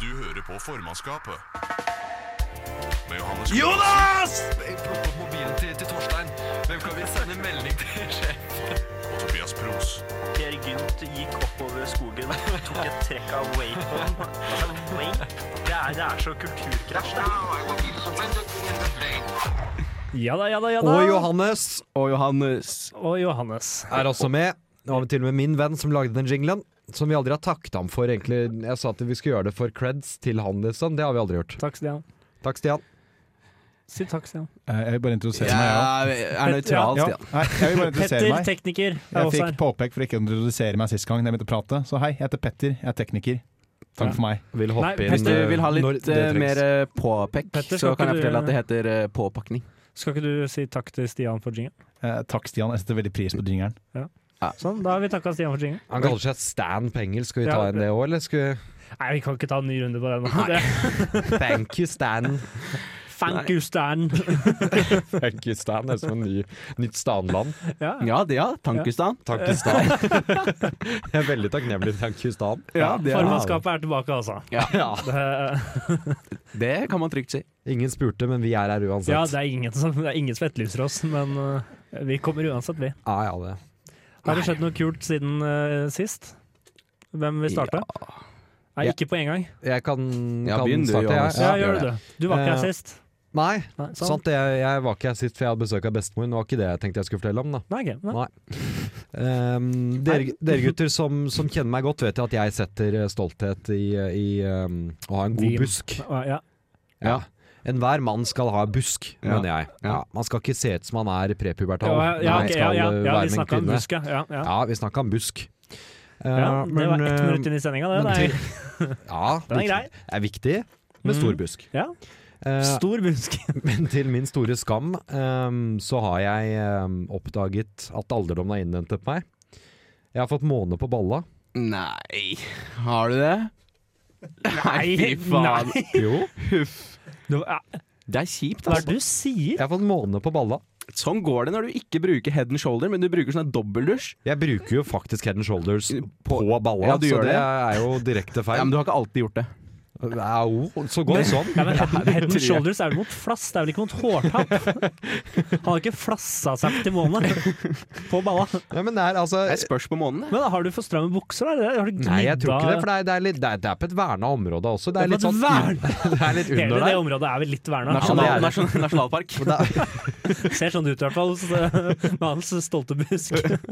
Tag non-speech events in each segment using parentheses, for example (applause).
Du hører på formannskapet. Med Johannes Jonas! Plukk opp mobilen til, til Torstein. Hvem kan vi sende melding til sjef? Kløversen og Tobias Pros. Per Gynt gikk oppover skogen, tok et trekk av wapen. Altså, vape? Det er, det er så kulturkrasj. Det er. Ja da, ja da, ja da. Og Johannes Og Johannes Og Johannes. er også med. Det var til og med min venn som lagde den jinglen. Som vi aldri har takket ham for, egentlig. Jeg sa at vi skulle gjøre det for creds til han, liksom. Det har vi aldri gjort. Takk, Stian. Takk, Stian. Si takk, Stian. Eh, Jeg vil bare introdusere meg, ja. Jeg er nøytral, ja. Stian. Nei, (laughs) jeg vil bare introdusere Petter, meg. tekniker, er Jeg også fikk her. påpekk for ikke å introdusere meg sist gang jeg begynte å prate. Så hei, jeg heter Petter, jeg er tekniker. Takk for meg. Vil hoppe Nei, inn Hvis du eh, vil ha når litt det eh, trengs. mer eh, påpekk, Petter, så skal kan ikke jeg du- fortelle at det heter eh, påpakning. Skal ikke du si takk til Stian for jingeren? Eh, takk, Stian. Jeg setter veldig pris på jingeren. Sånn, da har vi takka Stian for jingeren. Han kaller seg Stan på engelsk. Skal vi ta Ja. en det òg, eller? Skal vi... Nei, vi kan ikke ta en ny runde på den. nå. Det- Thank you, Stan. (laughs) Thank you, Stan. Thank you, Stan. Det er som en ny, nytt Stanland. (laughs) Ja. Ja, det, ja. Tankestan. Takk you, Stan. (laughs) Jeg er veldig takknemlig. Thank you, Stan. Ja, det, Formannskapet er tilbake, altså. Ja. Det, det kan man trygt si. Ingen spurte, men vi er her uansett. ja, det er ingen som det er ingen som etterlyser oss, men eh, vi kommer uansett, vi. Ah, Ja, ja, det. Har det skjedd noe kult siden eh, sist? Hvem vil starte? Nei, Ja. ikke på en gang. Jeg kan, Ja, kan begynn du, starte, jeg. Johannes. Ja, Ja, gjør gjør du det. Du var ikke Eh, her sist. Nei, Nei, sånn. sant. Jeg, jeg var ikke her sist, for jeg hadde besøk av bestemoren. Det var ikke det jeg tenkte jeg skulle fortelle om. da Nei, ok. Nei. Ehm, dere, dere gutter som, som kjenner meg godt, vet jeg at jeg setter eh, stolthet i, eh, i ehm, å ha en god Vin. busk. Ja, Ja. Enhver mann skal ha busk, Ja. mener jeg. Ja. Ja. Man skal ikke se ut som man er prepubertal. ja, ja, Man ok, ja, skal, ja, eh, ja være vi med en snakka om kvinne. busk, ja. ja, ja. Ja, vi snakka om busk. Eh, Ja, det var ett eh, minutt inn i sendinga, det. men det er, til- (laughs) Ja, Den er viktig- grei. er viktig med Mm. stor busk. Ja. Eh, (laughs) Stor busk. Men til min store skam ehm, så har jeg ehm, oppdaget at alderdommen har innhentet meg. Jeg har fått måne på balla. Nei, har du det? Nei, fy faen. Nei! Jo. Du- ja, Det er kjipt, Hva er altså. det du sier? Jeg har fått måne på balla. Sånn går det når du ikke bruker head and shoulder, men du bruker sånn dobbeldusj. Jeg bruker jo faktisk head and shoulders på balla, Ja, du så gjør det det. er jo direkte Ja, feil. men du har ikke alltid gjort det. Au, så går det sånn. Ja, men head, (laughs) head and shoulders er vel mot flass, det er vel ikke mot hårtapp? Han har ikke flassa seg til månen på balla. Ja, men det er altså Jeg spørs på måneden. jeg. Men har du for stramme bukser, da? Har du Nei, jeg tror ikke det, gnidda- for det er, det er, litt, det er, det er på et verna område også. Det er Det er litt på sånn et un- (laughs) Det er litt Hele under det der. området er vel litt Ja, verna. det Nasjonal, er det. nasjon, nasjonalpark. Og det er- Ser sånn ut i hvert fall, så- med hans stolte busk. (laughs)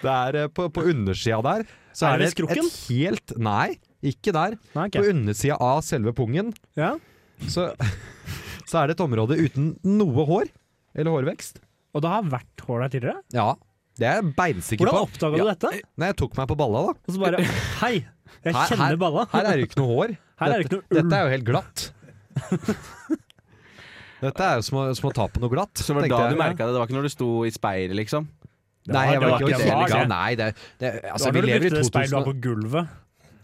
Det er eh, på, på undersida der. Så Er er det det et, et helt Nei, ikke der. Nei, ok. På undersida av selve pungen Ja. så, (laughs) så er det et område uten noe hår eller hårvekst. Og det har vært hår der tidligere? Ja, det er jeg beinsikker Hvordan på. oppdaga du Ja. dette? Nei, jeg tok meg på balla, da. Og så bare Hei, jeg Her- kjenner balla. Her er det jo ikke noe hår. Her er det ikke noe Dette, ull. dette er jo helt glatt. (laughs) Dette er jo som å, som å ta på noe glatt. Så var det tenkte da jeg. du merka det? Det var ikke når du sto i speilet, liksom? Nei, jeg Det var var- ikke det hos var ikke- Elika. Nei, det, det, altså, det vi var når du lever i brukte det speilet du har 2000 på gulvet.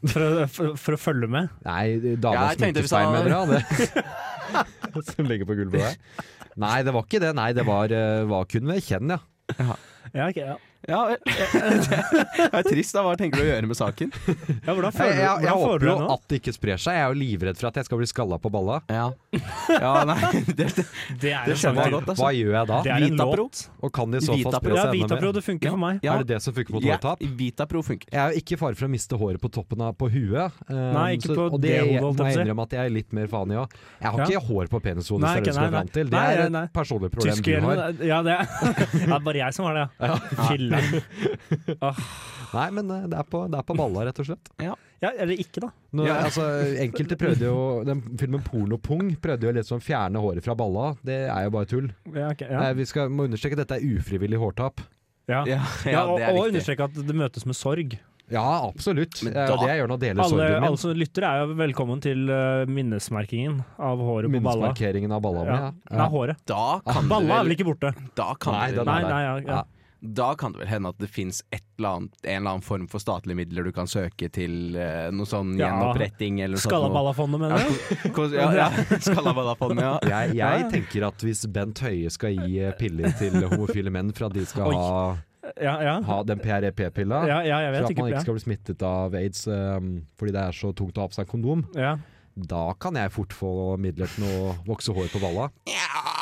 For å, for, for å følge med. Nei, Ja, dama jeg tenkte hvis sminkespeil, han- mener jeg. (laughs) Det. (laughs) Som ligger på gulvet der. Nei, det var ikke det. Nei, det var, eh, var kun ved kjenn, ja. Ja, ok, ja. Ja vel. (laughs) Det er trist, da. Hva tenker du å gjøre med saken? ja hvordan Jeg, føler, jeg, jeg, hvordan føler håper du jo det nå? at det ikke sprer seg. Jeg er jo livredd for at jeg skal bli skalla på balla. Ja, nei det, det, Det er det skjønner jeg en sang godt, altså. Hva gjør jeg da? til. Det er en Vitapro. låt. Og kan det i så fall spre Ja, seg enda Vitapro, mer? det funker for meg. Ja. Er det det som funker mot Ja, hårtap? Vitapro funker. Jeg er jo ikke i fare for å miste håret på toppen av på huet. eh, Nei, ikke på og det det må jeg hodet, holdt jeg på å si. innrømme at jeg er litt mer faen i òg. Jeg har Ja. ikke hår på penishodet, Nei, ser det ikke- ut som jeg nei, fram til. Det nei. er Nei, nei. et personlig problem du har. Tyskerhjelmen Ja, det er, det er bare jeg som har det, ja. Filler'n. Nei, men eh, det er på, det er på balla, rett og slett. Ja, eller ikke, da. Nå, Ja. altså, enkelte prøvde jo Den filmen Pornopung prøvde jo liksom fjerne håret fra balla. Det er jo bare tull. Ja, ok, ja. Eh, Vi skal, må understreke at dette er ufrivillig hårtap. Ja. Ja, Ja, og, det er og viktig. understreke at det møtes med sorg. Ja, absolutt. Men Det er da- jo det jeg gjør nå, deler Alle, sorgen alle min. som lytter er jo velkommen til eh, minnesmerkingen av håret på balla. Minnesmarkeringen av balla mi. Ja. Ja. Nei, håret. Da kan det Balla er vel vel, ikke borte? da kan Nei, det den vel, Nei, er der. nei, ja, ja. Ja. da kan det vel hende at det fins et eller annet, en eller annen form for statlige midler du kan søke til eh, noe sånn Ja. gjenoppretting eller sånn noe sånt. Skallaballafondet, mener du? Skallaballa. Ja, (laughs) ja. Skallaballafondet, ja. Jeg, Ja, jeg ja. tenker at hvis Bent Høie skal gi eh, piller til homofile menn for at de skal Oi. ha Ja, ja. ha den PRP-pilla, ja, ja jeg for vet at man ikke. ikke Ja. skal bli smittet av aids ehm, fordi det er så tungt å ha på seg kondom, Ja. da kan jeg fort få midler til å vokse hår på balla.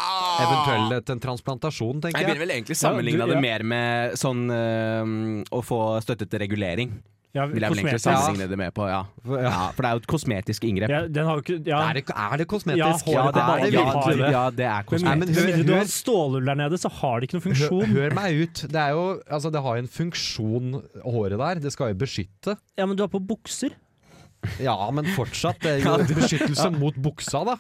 Eventuelt en transplantasjon, Jeg tenker ville jeg. vel egentlig Ja, sammenligna du- ja. det mer med sånn øhm, å få støtte til regulering. Ja, Vil jeg vel egentlig kosmetisk. sammenligne det med på, ja. For- ja. ja. For det er jo et kosmetisk inngrep. ja, den har jo ikke ja. Er, det, er det Ja, kosmetisk? håret det på balla er det vil ja, ha virkelig det, det. ja, det er Nei, Men, kosmetisk. men men, hør- du hør- har en stålhull der nede, så har det ikke noen Hør, funksjon. hør meg ut. Det, er jo, altså, det har jo en funksjon, håret der. Det skal jo beskytte. Ja, men du har på bukser. Ja, men fortsatt. Det er jo (laughs) beskyttelse mot buksa, da.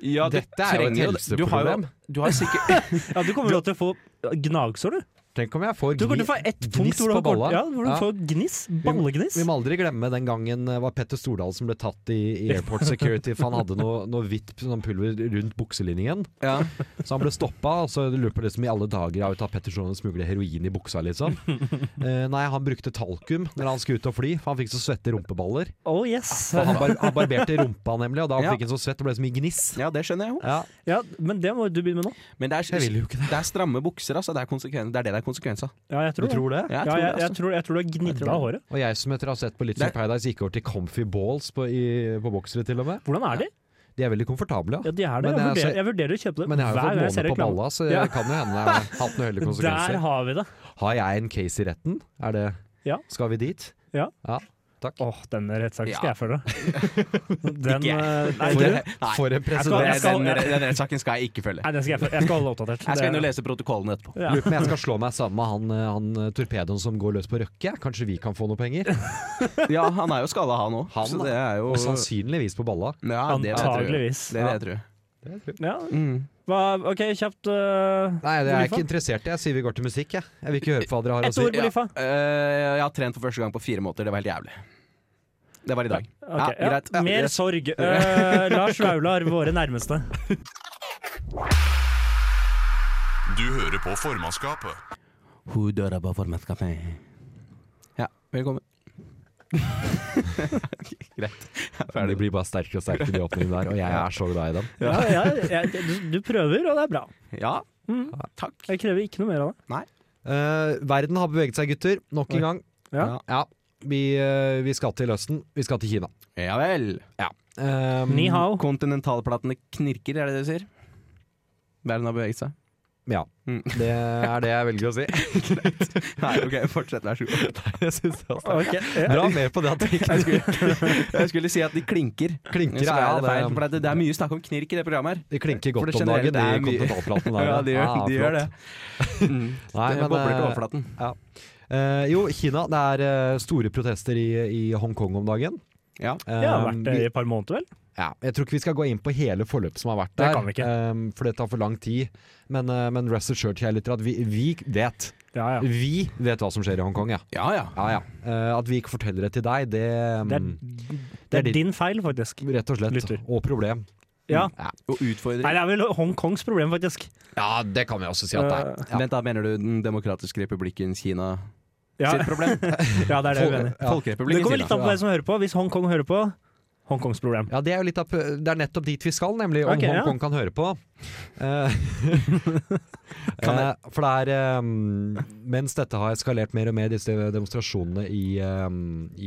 Ja, du Dette er jo et trenger Du har jo, helseproblem. du har (laughs) sikkert Ja, Du kommer jo til å få gnagsår, du. Tenk om jeg får Du kommer til å få ett gniss punkt hvor du, på har balla. ja, hvor du Ja. får gniss. Ballegniss. Vi må aldri glemme den gangen det var Petter Stordal som ble tatt i, i airport security for han hadde noe, noe hvitt sånn pulver rundt bukselinningen. ja. Så han ble stoppa, og så lurer på liksom i alle dager har jo tatt Petter Stordal og smuglet heroin i buksa, (laughs) liksom. Eh, nei, han brukte talkum når han skulle ut og fly, for han fikk så svette rumpeballer. Oh yes. For han, bar han barberte rumpa, nemlig, og da Ja. fikk han så svett og ble så mye gniss. ja, det skjønner jeg jo. Ja, Ja, Men det må jo du begynne med nå. Men det jeg er, vil jo ikke det. det er stramme bukser, altså. Det er, konsekven- det er det det er konsekvens av. Ja, jeg Du tror det. tror det? Ja, jeg Ja, tror jeg, det, jeg, altså. tror, jeg tror du har Jeg gnidd tror av det. håret. Og jeg som etter å ha sett på Litt som Det- Paradise gikk over til comfy balls på, i, på boksere til og med. Hvordan er de? De er veldig komfortable, Ja, de er det. Men Jeg jeg vurderer, ser- jeg vurderer å kjøpe det Men jeg har jo hver fått gang jeg ser måne på reklame. balla, så Ja. det kan jo hende jeg har hatt noen uheldige konsekvenser. (laughs) Der har vi det. Har jeg en case i retten? Er det Ja. Skal vi dit? Ja. takk. Åh, den rettssaken Ja. skal jeg (laughs) følge. Den, Ikke. eh, nei, For du? en, for en Jeg skal- president. Den, jeg skal- den, den rettssaken skal jeg ikke følge. nei, den skal jeg følge. Jeg skal holde deg oppdatert. Jeg skal inn og Det- lese protokollen etterpå. Ja. Lurer på om jeg skal slå meg sammen med han, eh, han eh, torpedoen som går løs på Røkke. Kanskje vi kan få noe penger? Ja, han er jo skalla, han òg. Han Så det er jo (laughs) Og sannsynligvis på balla. ja, det vil jeg tro. Antageligvis. Det vil jeg tro. Ja. Mm. Hva, OK, kjapt eh, Nei, det er jeg Mulifa? ikke interessert i. Jeg sier vi går til musikk, jeg. Jeg vil ikke høre på hva dere har å Et si. ord, Mulifa. Ja, øh, jeg har trent for første gang på fire måneder. Det var helt jævlig. Det var i dag. Ok, Ja, greit. Ja, Mer yes. sorg. (laughs) Eh, Lars Vaular, våre nærmeste. Du hører på formannskapet. Hun døra på formannskapet. Ja, velkommen. Greit. Jeg er De Ferdig. blir bare sterkere og sterkere, de åpningene der. Og jeg er så glad i dem. Ja, ja, jeg, du, du prøver, og det er bra. Ja, Mm. takk. Jeg krever ikke noe mer av det. Eh, verden har beveget seg, gutter. Nok en gang. Ja. Ja. Vi, eh, vi skal til Østen. Vi skal til Kina. Ja vel. Um, Ni hao. Kontinentalplatene knirker, er det det du sier? Verden har beveget seg. Ja. Mm. Det er det jeg velger å si. (laughs) Nei, ok, fortsett, vær så god. (laughs) Jeg synes det var sterkt. Ok, ja. Dra mer på det at det ikke Jeg skulle si at de klinker. klinker. Så Ja, er det, feil, det, for det, det er mye snakk om knirk i det programmet her. det klinker For det godt om generelle, dagen det i er mye- kontinentalplaten. (laughs) der, Ja, de gjør, Ah, de flott. gjør det. Mm. Nei, det men, bobler til eh, overflaten. eh, jo, Kina. Det er eh, store protester i, i Hongkong om dagen. Ja. Eh, Det har vært det vi- i et par måneder, vel? ja, Jeg tror ikke vi skal gå inn på hele forløpet som har vært Det der, kan vi ikke. eh, for det tar for lang tid. Men, uh, men rest assured, kjære lytter, at vi, vi vet Ja, ja. Vi vet hva som skjer i Hongkong, ja. Ja, ja. ja, ja. Eh, at vi ikke forteller det til deg, det, Det er, mm, det er Mm. er ditt- din feil, faktisk. Rett og slett. Lytter. Og problem. Mm, Ja. Og utfordring. Nei, det er vel Hongkongs problem, faktisk. Ja, det kan vi også si Eh, at det er. Ja. Vent da, mener du Den demokratiske republikken Kina Ja, sitt problem? ja det er det vi mener. Ja. Det Folkerepublikken kommer litt Kina. an på hvem som hører på. Hvis Hongkong hører på, Hongkongs problem. Ja, det er jo litt av, det er nettopp dit vi skal, nemlig. Om Ok, ja. Hongkong kan høre (laughs) på. Eh, eh, for det er eh, Mens dette har eskalert mer og mer, disse demonstrasjonene i, eh,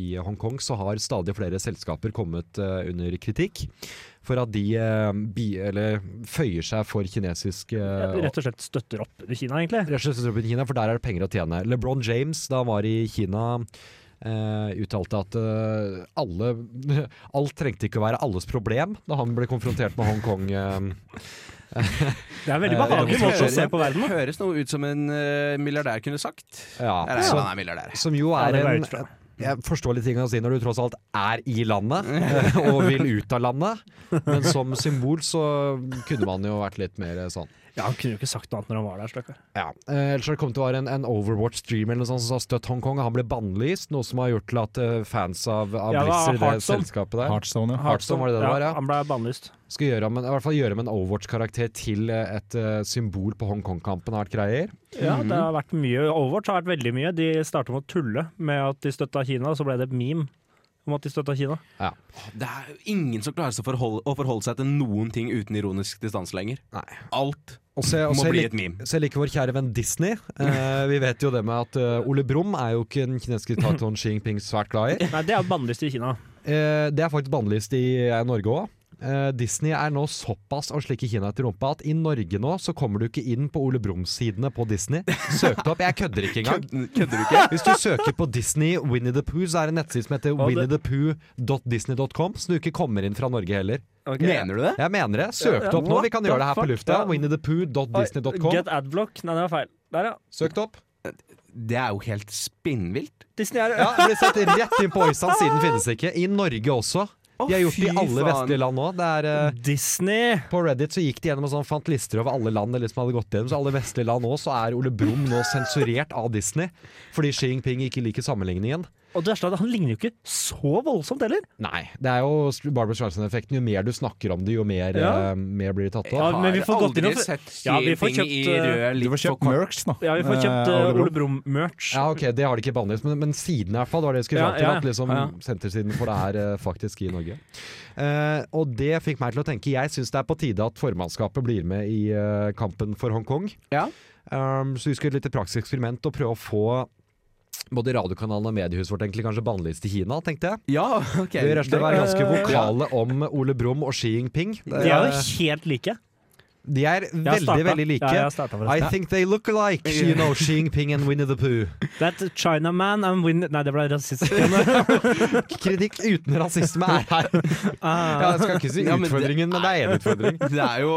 i Hongkong, så har stadig flere selskaper kommet eh, under kritikk for at de eh, bi, eller, føyer seg for kinesisk eh, Rett og slett støtter opp Kina, egentlig. rett og slett støtter Kina, for der er det penger å tjene. LeBron James, da han var i Kina, eh, uttalte at eh, alle (laughs) Alt trengte ikke å være alles problem da han ble konfrontert med Hongkong. Eh, Det er en veldig Eh, det behagelig er måte å også- se på verden på. Høres noe ut som en eh, milliardær kunne sagt. ja, Eller, som, han er milliardær. som jo Ja, er det går jeg en ut fra. Jeg forstår litt ting å si når du tross alt er i landet eh, og vil ut av landet, men som symbol så kunne man jo vært litt mer sånn. Ja, han kunne jo ikke sagt noe annet når han var der, stakkar. Ja, eh, Ellers har det kommet til å være en, en Overwatch-streamer eller noe sånt som sa støtt Hongkong. og Han ble bannlyst, noe som har gjort til at eh, fans av, av Ja, det var sånn. Blizzard, det Hearthstone. selskapet der Heartstone, ja. Hearthstone var det det det var, ja. Han ble bannlyst. Skal gjøre om en, i hvert fall gjøre om en Overwatch-karakter til eh, et eh, symbol på Hongkong-kampen har vært greier. Ja, Mhm. det har vært mye. Overwatch har vært veldig mye. De starta med å tulle med at de støtta Kina, og så ble det et meme. om at de støtta Kina. Det er jo ingen som klarer seg å forholde, å forholde seg til noen ting uten ironisk distanse lenger. Nei. Alt Og se, og må se, bli lik, et meme. se like vår kjære venn Disney. Eh, vi vet jo det med at eh, Ole Brumm er jo ikke den kinesiske (laughs) diktatoren Xi Jinping svært glad i. Nei, det er jo bannlyst i Kina. Eh, det er faktisk bannlyst i eh, Norge òg. Disney er nå såpass å slikke Kina etter rumpa at i Norge nå så kommer du ikke inn på Ole Brumm-sidene på Disney. Søk det opp. Jeg kødder ikke engang. (laughs) Kødder kødder du ikke? Hvis du søker på Disney Winnie the Pooh, så er det en nettside som heter det- winniethepooh.disney.com, så du ikke kommer inn fra Norge heller. Mener du det? Jeg mener det. Søk det opp nå. Vi kan gjøre det her på lufta. Winniethepooh.disney.com. Get adblock. Nei, det var feil. Der, ja. Søk det opp. Det er jo helt spinnvilt. Disney er Ja, det blir satt rett inn på Øysand, siden finnes det ikke. I Norge også. De har gjort det i alle vestlige land òg. Eh, Disney! på Reddit så gikk de gjennom og sånn, fant lister over alle land det liksom hadde gått gjennom. Så alle vestlige land òg, så er Ole Brumm nå sensurert av Disney. Fordi Xi Jinping ikke liker sammenligningen. Og det verste er at han ligner jo ikke så voldsomt heller. Nei. Det er jo Barbara Streisand-effekten. Jo mer du snakker om det, jo mer, Ja. eh, mer blir det tatt av. Ja, men vi får gått inn og- aldri sett Xi Ja, vi får Jinping kjøpt, i eh, rød Du får litt for kjøpt kort. merch, da. Ja, vi får kjøpt Eh, eh, Ole Brumm. Ole Brumm-merch. Ja, ok, Det har de ikke bannlyst, men, men siden i hvert fall. Det var det jeg skulle Ja, fram til. ja, At liksom, ja, ja. Sentersiden for det er eh, faktisk i (laughs) Norge. Eh, og det fikk meg til å tenke Jeg syns det er på tide at formannskapet blir med i eh, kampen for Hongkong. Ja. Um, så vi skulle gjøre et lite praktisk eksperiment og prøve å få både radiokanalen og mediehuset vårt egentlig kanskje bannlyst i Kina, tenkte jeg. Ja, ok. Vi rett og slett Det- være ganske Eh, vokale om Ole Brumm og Xi Jinping. Eh, De er jo helt like. De er Jeg har veldig, starta. veldig like. Ja, jeg har starta I forresten. think they look alike, you know, Xi Jinping and Winnie the Pooh. That Chinaman and Win... Nei, det ble (laughs) rasistisk. Kritikk uten rasisme er her. Ja, jeg skal ikke si Ja, men det- utfordringen, men det er en utfordring. (laughs) Det er jo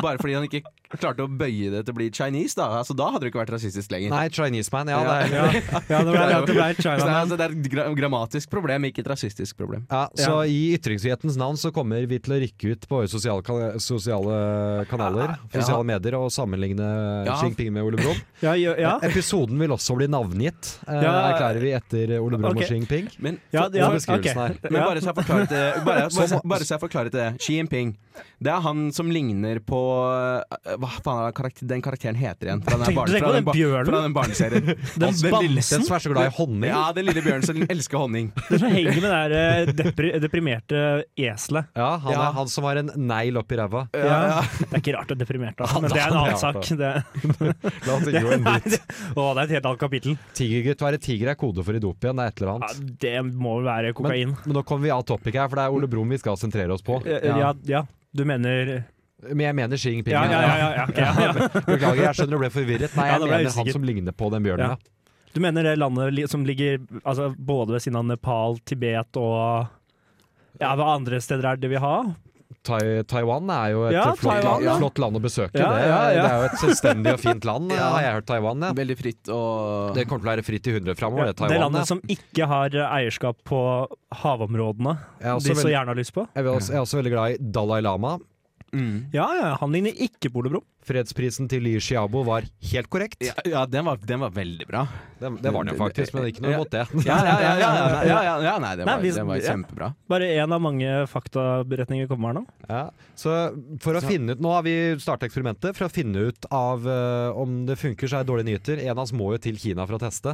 bare fordi han ikke klarte å bøye det til å bli Chinese, da. Altså, da hadde det ikke vært rasistisk lenger. Nei, Chinese man, ja. Det er. Ja, ja det ble, ja, det Så ble det, er, Chinaman. altså, det er et gra grammatisk problem, ikke et rasistisk problem. Ja, så i ytringsfrihetens navn så kommer vi til å rykke ut på våre sosiale, kan sosiale kanaler, sosiale medier, og sammenligne Ja. Xi Jinping med Ole Brumm. Ja, ja, ja. Episoden vil også bli navngitt, eh, Ja. erklærer vi etter Ole Brumm Ok. og Xi Jinping. Men, Ja, Og ja, beskrivelsen ok. sånn her. men Ja. bare så jeg forklarer det (laughs) bare, bare, Som- bare så jeg forklarer det. Xi Jinping. Det er han som ligner på eh, Hva faen er det karakter, den karakteren heter igjen? Fra den, Tenk- barne- tenk på fra den ba- bjørnen. Fra (laughs) den barneserien. Den Den bamsen som er så glad i honning. Ja, den lille bjørnen som elsker honning. den som henger med det der, eh, depri deprimerte eselet. Ja, han, Ja. Er, han som har en negl oppi ræva. Ja. Det er ikke rart det er deprimert, altså, men det er en annen sak. Det, La oss ikke gå inn Nei, dit. det, å, det er et helt annet kapittel. Tigergutt være tiger er kode for i dop igjen, det er et eller Ja, annet. det må vel være kokain. Men, men nå kommer vi av topic her, for det er Ole Brumm vi skal sentrere oss på. ja. Ja, ja, du mener Men jeg mener Xi Jinping. Ja, ja, ja. ja, ja, ok, ja, (laughs) ja. (laughs) Beklager, jeg skjønner du ble forvirret. Nei, Ja, jeg da ble jeg mener han usikker. som ligner på den bjørnen. Ja. Ja. Du mener det landet li- som ligger altså, både ved siden av Nepal, Tibet og ja, Hva andre steder er det vi har? Tai Taiwan er jo et Ja, flott, land, Taiwan, ja. flott land å besøke. Ja, det, ja, ja. det er jo et selvstendig og fint (laughs) land, (laughs) eh, Ja. har jeg hørt. Taiwan, ja. Veldig fritt og Det kommer til å være fritt i 100 framover, Ja, det det Taiwan. landet ja. som ikke har eh, eierskap på havområdene Jeg er også de så veldig- gjerne har lyst på. jeg er også- jeg er også veldig glad i Dalai Lama. mm. Ja, ja, han ligner ikke på Ole Brumm. Fredsprisen til Liu Xiaobo var helt korrekt. ja, ja den, var, den var veldig bra. Det, det var den jo faktisk, men ikke noe Ja. mot det. Ja, ja, ja. ja, ja, ja, ja, ja nei, det Nei, var, vi- den var ja. (laughs) kjempebra. Bare én av mange faktaberetninger kommer her nå. Ja. Så for å finne ut Nå har vi startet eksperimentet for å finne ut av eh, om det funker, så er det dårlige nyheter. En av oss må jo til Kina for å teste.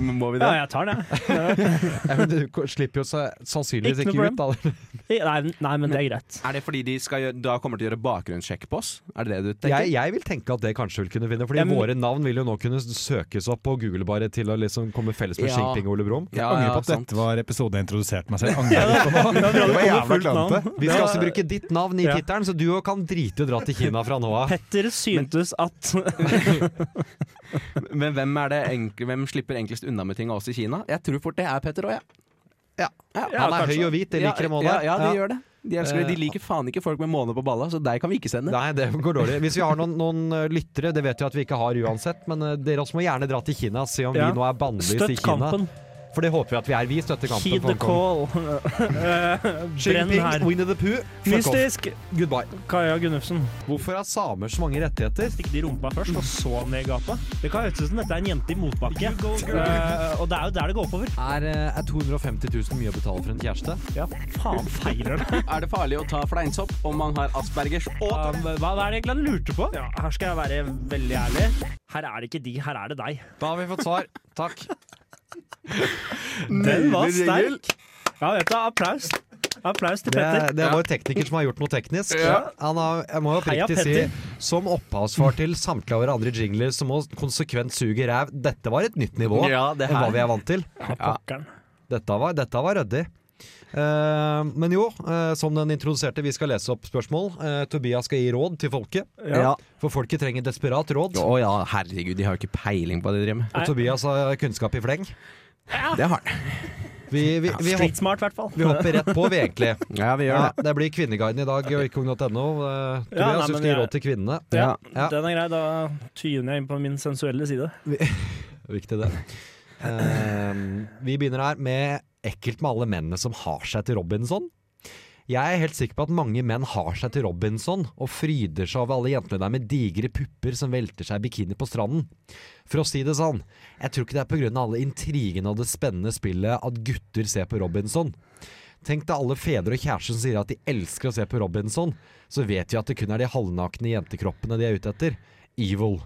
Må vi Ja, det? jeg tar det. (laughs) (laughs) Ja, men du ko- slipper jo så, sannsynligvis Ikke ikke, noe ut. Da. Nei, nei, men det er greit. Er det fordi de skal gjøre, da kommer til å gjøre bakgrunnssjekk på oss? Er det det du tenker? Jeg, jeg vil tenke at det kanskje vil kunne vinne, Fordi Ja, men- våre navn vil jo nå kunne søkes opp på Google bare til å liksom komme felles med Ja. Xi Jinping og Ole Brumm. Ja, Angrer ja, på at sant. dette var episoden jeg (laughs) introduserte meg selv. Angrer litt på nå. Det var jævla klønete. Vi skal også bruke ditt navn i Ja. tittelen, så du òg kan drite i å dra til Kina fra nå av. Petter syntes at Men hvem, er det enk- hvem slipper enklest unna med ting av oss i Kina? Jeg tror fort det er Petter òg, jeg. (laughs) Ja, Han er høy og hvit, det liker dem òg ja, der. ja, de Ja. gjør det. De, elsker, det. de Eh, liker faen ikke folk med måne på balla, så deg kan vi ikke sende. Nei, det går dårlig. Hvis vi har noen, noen eh, lyttere, det vet vi at vi ikke har uansett, men eh, dere også må gjerne dra til Kina og se om Ja. vi nå er bannlyst i Støtt Kina. kampen. For det håper vi at vi er. Vi støtter kampen. Heed for the Hong Kong. call. (laughs) Eh, Xi Brenn Jinping, her. Winnie the Pooh, fuck off. Mystisk! Goodbye. Kaja Gunnufsen. Hvorfor har samer så mange rettigheter? Stikk de i rumpa først, og så ned i gata. Det kan høres ut som dette er en jente i motbakke, Eh, og det er jo der det går oppover. Er, eh, er 250 000 mye å betale for en kjæreste? Ja, faen feiler det. Er det farlig å ta fleinsopp om man har aspergers og Um, Hva hva er det egentlig han lurte på? Ja, her skal jeg være veldig ærlig. Her er det ikke de, her er det deg. Da har vi fått svar. Takk. Den var sterk. Ja, vet du, applaus. Applaus til Det, (laughs) Petter. det er vår tekniker som har gjort noe teknisk. Ja. Han har, jeg må Heia, oppriktig si, som opphavsfar til samtlige av våre andre jingler som må konsekvent suge ræv, dette var et nytt nivå Ja, det enn hva her. vi er vant til. Ja, pokkeren. Dette var, dette var ryddig. Eh, men jo, eh, som den introduserte, vi skal lese opp spørsmål. Eh, Tobias skal gi råd til folket, Ja. Ja. for folket trenger desperat råd. Å ja, herregud, de har jo ikke peiling på det de driver med. Og Tobias har kunnskap i fleng. Det har de. Vi, vi, vi, Street hopper, smart, i hvert fall. vi hopper rett på, vi, egentlig. Ja, vi gjør Ja, det. det blir Kvinneguiden i dag og ikke ung.no. Eh, Tobias, Ja, nei, du men skal gi jeg- råd til kvinnene. Ja. Ja. Den er grei. Da tyner jeg inn på min sensuelle side. Viktig det. Ehm, vi begynner her med ekkelt med alle mennene som har seg til Robinson. Jeg er helt sikker på at mange menn har seg til Robinson og fryder seg over alle jentene der med digre pupper som velter seg i bikini på stranden. For å si det sånn, jeg tror ikke det er pga. alle intrigene og det spennende spillet at gutter ser på Robinson. Tenk deg alle fedre og kjærester som sier at de elsker å se på Robinson, så vet vi at det kun er de halvnakne jentekroppene de er ute etter. Evil.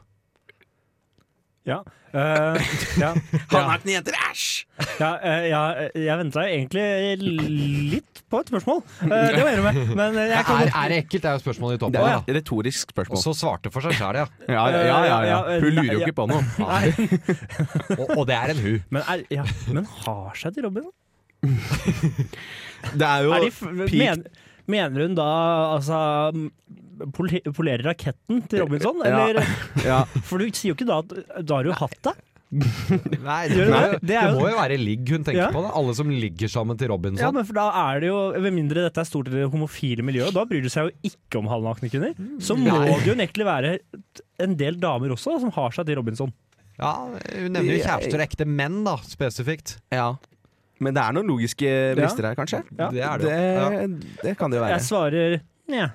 Ja. Eh, ja. Han er ikke noen jenter, æsj! Ja, eh, ja, eh, jeg venta egentlig litt på et spørsmål. Eh, det må jeg innrømme. Men jeg kom Er, er det ekkelt? Det er jo spørsmålet ditt Det oppe. er Ja. et retorisk Og spørsmål. så svarte for seg sjæl, ja. Ja, ja, ja, ja. Ja, ja, Hun lurer jo ja. ikke på noe. (laughs) Nei, (laughs) Og, og det er en hu. men, er, ja, men har seg til Robin? Det er jo Er de, f- men, mener hun da altså poli- Polerer raketten til Robinson, Ja. eller? ja. For du sier jo ikke da at da har du hatt det. Nei, det, Gjør det må det? jo- Det det er jo- må jo være ligg hun tenker Ja. på. Da. Alle som ligger sammen til Robinson. Ja, men for da er det jo, Med mindre dette er stort i det homofile miljøet, og da bryr det seg jo ikke om halvnakne kvinner, Mm, så må det jo nektelig være en del damer også som har seg til Robinson. ja, hun nevner jo kjærester og ekte menn, da, spesifikt. ja. Men det er noen logiske brister her, kanskje? Ja. Det er det Det, jo. Ja. det kan det jo være. Jeg svarer nja.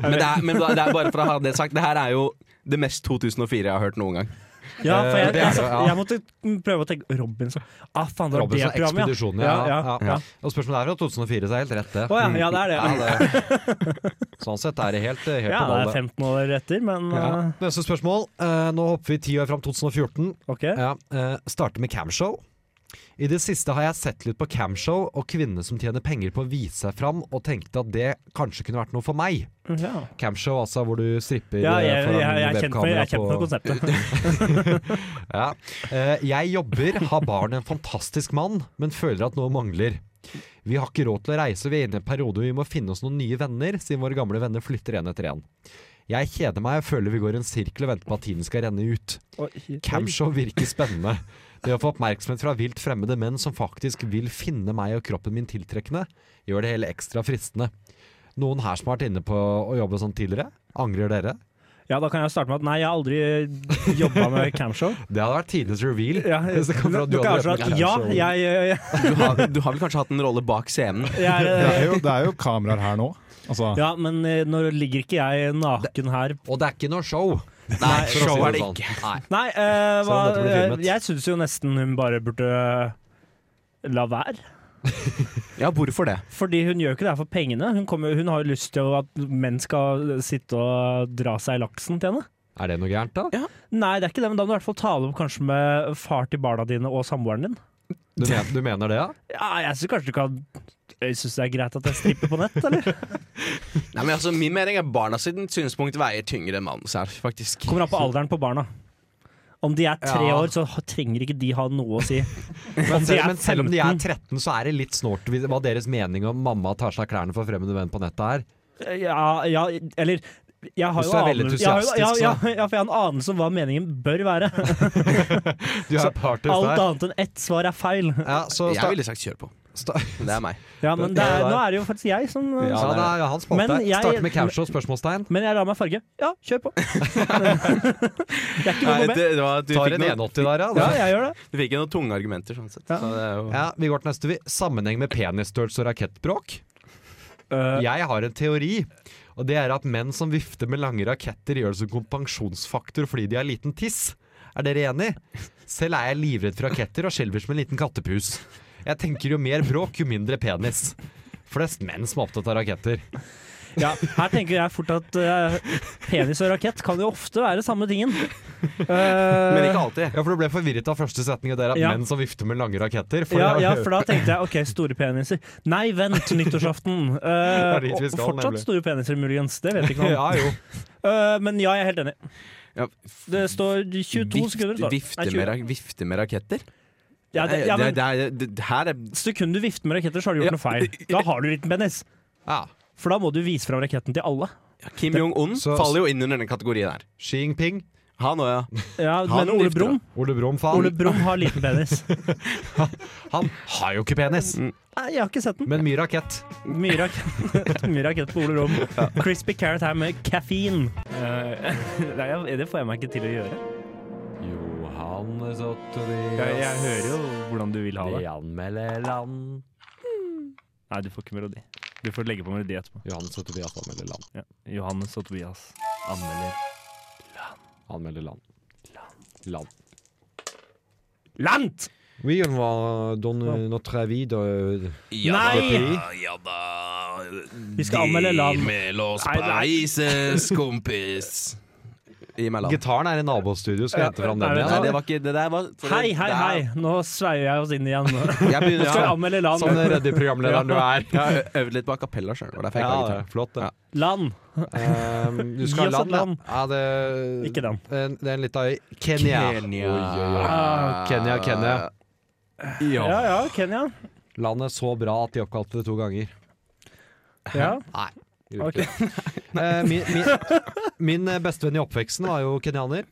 Men, det er, men da- det er bare for å ha det sagt, det her er jo det mest 2004 jeg har hørt noen gang. Ja, for jeg, Eh, Det er jeg, det, jeg, ja. måtte prøve å tenke Robinson. Ah, faen, det var det Robinson programmet, ja. Ekspedisjonen, ja. Ja, Ja, ja, ja. Og spørsmålet er fra 2004, så er helt rett, det. Å ja, ja, det er det. Ja, Ja, det. Sånn sett er det helt, helt ja på det ballet. er 15 år etter, men Ja. eh, Neste spørsmål. Eh, nå hopper vi ti år fram 2014. OK. Ja, eh, starter med camshow. I det siste har jeg sett litt på camshow og kvinner som tjener penger på å vise seg fram, og tenkte at det kanskje kunne vært noe for meg. Ja, Camshow, altså hvor du stripper ja eh, jeg, jeg, foran jeg, er kjent med, jeg webkamera er kjent med (laughs) konseptet. ja. Eh, Jeg jobber, har barn en fantastisk mann, men føler at noe mangler. Vi har ikke råd til å reise, vi er inne i en periode hvor vi må finne oss noen nye venner, siden våre gamle venner flytter en etter en. Jeg kjeder meg og føler vi går i en sirkel og venter på at tiden skal renne ut. Oi, oi. Camshow virker spennende. Det å få oppmerksomhet fra vilt fremmede menn som faktisk vil finne meg og kroppen min tiltrekkende, gjør det hele ekstra fristende. Noen her som har vært inne på å jobbe sånn tidligere, angrer dere? Ja, da kan jeg starte med at nei, jeg har aldri jobba med (laughs) camshow. Det hadde vært tidenes reveal. Ja, (laughs) Hvis det kom fra at du dere hadde er sånn vært med at ja, camshow. jeg, eh, jeg, Du har, du har vel kanskje hatt en rolle bak scenen? jeg Det (laughs) er er jo, det er jo kameraer her nå. Altså, Ja, men eh, nå ligger ikke jeg naken her. Og det er ikke noe show. Nei, for å si show er det sånn. ikke. Nei. Nei, eh, Selv om hva, Sånn, dette blir filmet. eh, jeg syns jo nesten hun bare burde eh, la være. Ja, hvorfor det? Fordi hun gjør ikke det her for pengene. Hun, kommer, hun har jo lyst til at menn skal sitte og dra seg i laksen til henne. Er det noe gærent, da? Nei, det er ikke det, men da må du i hvert fall ta det opp kanskje med far til barna dine og samboeren din. Du, men, du mener det, ja? Ja, jeg syns kanskje du kan Jeg syns det er greit at jeg stripper på nett, eller? (laughs) Nei, men altså, Min mening er barna sitt synspunkt veier tyngre enn mannens her, faktisk. Kommer an på alderen på barna. Om de er tre Ja. år, så ha- trenger ikke de ha noe å si. Men, Om de selv, er men selv om de er 15. 13, så er det litt snålt hvis- hva deres mening om mamma tar seg av klærne for fremmede venn på nettet er. Ja, ja eller jeg har Hvis jo du er veldig anelse- jeg har jo- entusiastisk, ja, ja, ja, for jeg har en anelse om hva meningen bør (laughs) være. Du er partist Alt der. annet enn ett svar er feil. Ja, så Jeg sta, ville sagt kjør på. sta, Men det er meg. Ja, men det er, nå er det jo faktisk jeg som ja, det er det er jo hans spalte. Men jeg- Starte med camshow, spørsmålstegn. Men jeg lar meg farge. Ja, kjør (laughs) på. (laughs) jeg er ikke Nei, noe med. det, det var, at du, Tar fikk en noen, 180 der, ja. Ja, da. jeg gjør det. du fikk ikke noen tunge argumenter, sånn sett. Ja. Så det er jo, Ja, vi går til neste. vi. Sammenheng med penisstørrelse og rakettbråk. Øh, Jeg har en teori, og det er at menn som vifter med lange raketter, gjør det som kompensjonsfaktor fordi de har liten tiss. Er dere enig? Selv er jeg livredd for raketter og skjelver som en liten kattepus. Jeg tenker jo mer bråk, jo mindre penis. Flest menn som er opptatt av raketter. (laughs) Ja, her tenker jeg fort at eh, penis og rakett kan jo ofte være samme (laughs) tingen. Eh, Men ikke alltid. Ja, for du ble forvirret av første setning, og det er at Ja. menn som vifter med lange raketter. For Eh, ja, det er- ja, for da tenkte jeg OK, store peniser. Nei, vent, nyttårsaften! Eh, (laughs) Det er dit vi og skal, fortsatt nemlig. store peniser, muligens. Det vet (laughs) vi ikke noe om. ja, jo. Eh, men ja, jeg er helt enig. Ja, Det står 22 Vift- sekunder. Står. det. vifte, Nei, med, 20. ra- vifte med raketter? ja, det, ja, Nei, men det, er- det, det, her er Sekund du vifter med raketter, så har du gjort Ja. noe feil. Da har du liten penis. Ja. For da må du vise fram raketten til alle. Kim Jong-un Så- faller jo inn under denne kategorien her. Xi Jinping, Han òg, ja. Ja, Han men Ole vifter, Brumm Ole Brumm, Ole faen. Brumm har liten penis. Han har jo ikke penis, Nei, jeg har ikke sett den. men mye rakett. Mye rakett, (laughs) mye rakett på Ole Brumm. Crispy Carrot her med kaffein. Eh, (laughs) nei, jeg- det får jeg meg ikke til å gjøre. Johannes Jeg, jeg Ottovias hører jo hvordan du vil ha det. anmelder land. Nei, du får ikke melodi. Du får legge på melodi etterpå. Johannes og Tobias anmelder land. Ja. Johannes og Tobias anmelder Anmelder land. Land. Land! Oui, on va donner notre avis de Nei! ja da Vi skal anmelde land. med Los Nei, nei. (laughs) Paises, kompis. Gi meg land. Gitaren er i nabostudio, skal jeg hente fram Nei, den vet Nei, igjen. du det var ikke Det der var Hei, hei, hei! Nå sveier jeg oss inn igjen. (laughs) Nå Jeg begynner skal vi sånn- ja. anmelde Som den land. redde programlederen du er. Jeg har ø- øvd litt på a cappella sjøl. Ja, Ja, det gitar. er flott, det. Ja. Land! Ehm, du skal ha Gi oss et land, ja. land. ja det, Ikke den. En- Det er en litt av Kenya. Kenya. Ah, Oi, oi, oi. Kenya, Kenya. Ja. Ja ja, Kenya. Landet er så bra at de oppkalte det to ganger. Ja. Nei. gjorde ikke (laughs) det. Eh, min, min, min eh, bestevenn i oppveksten var jo kenyaner.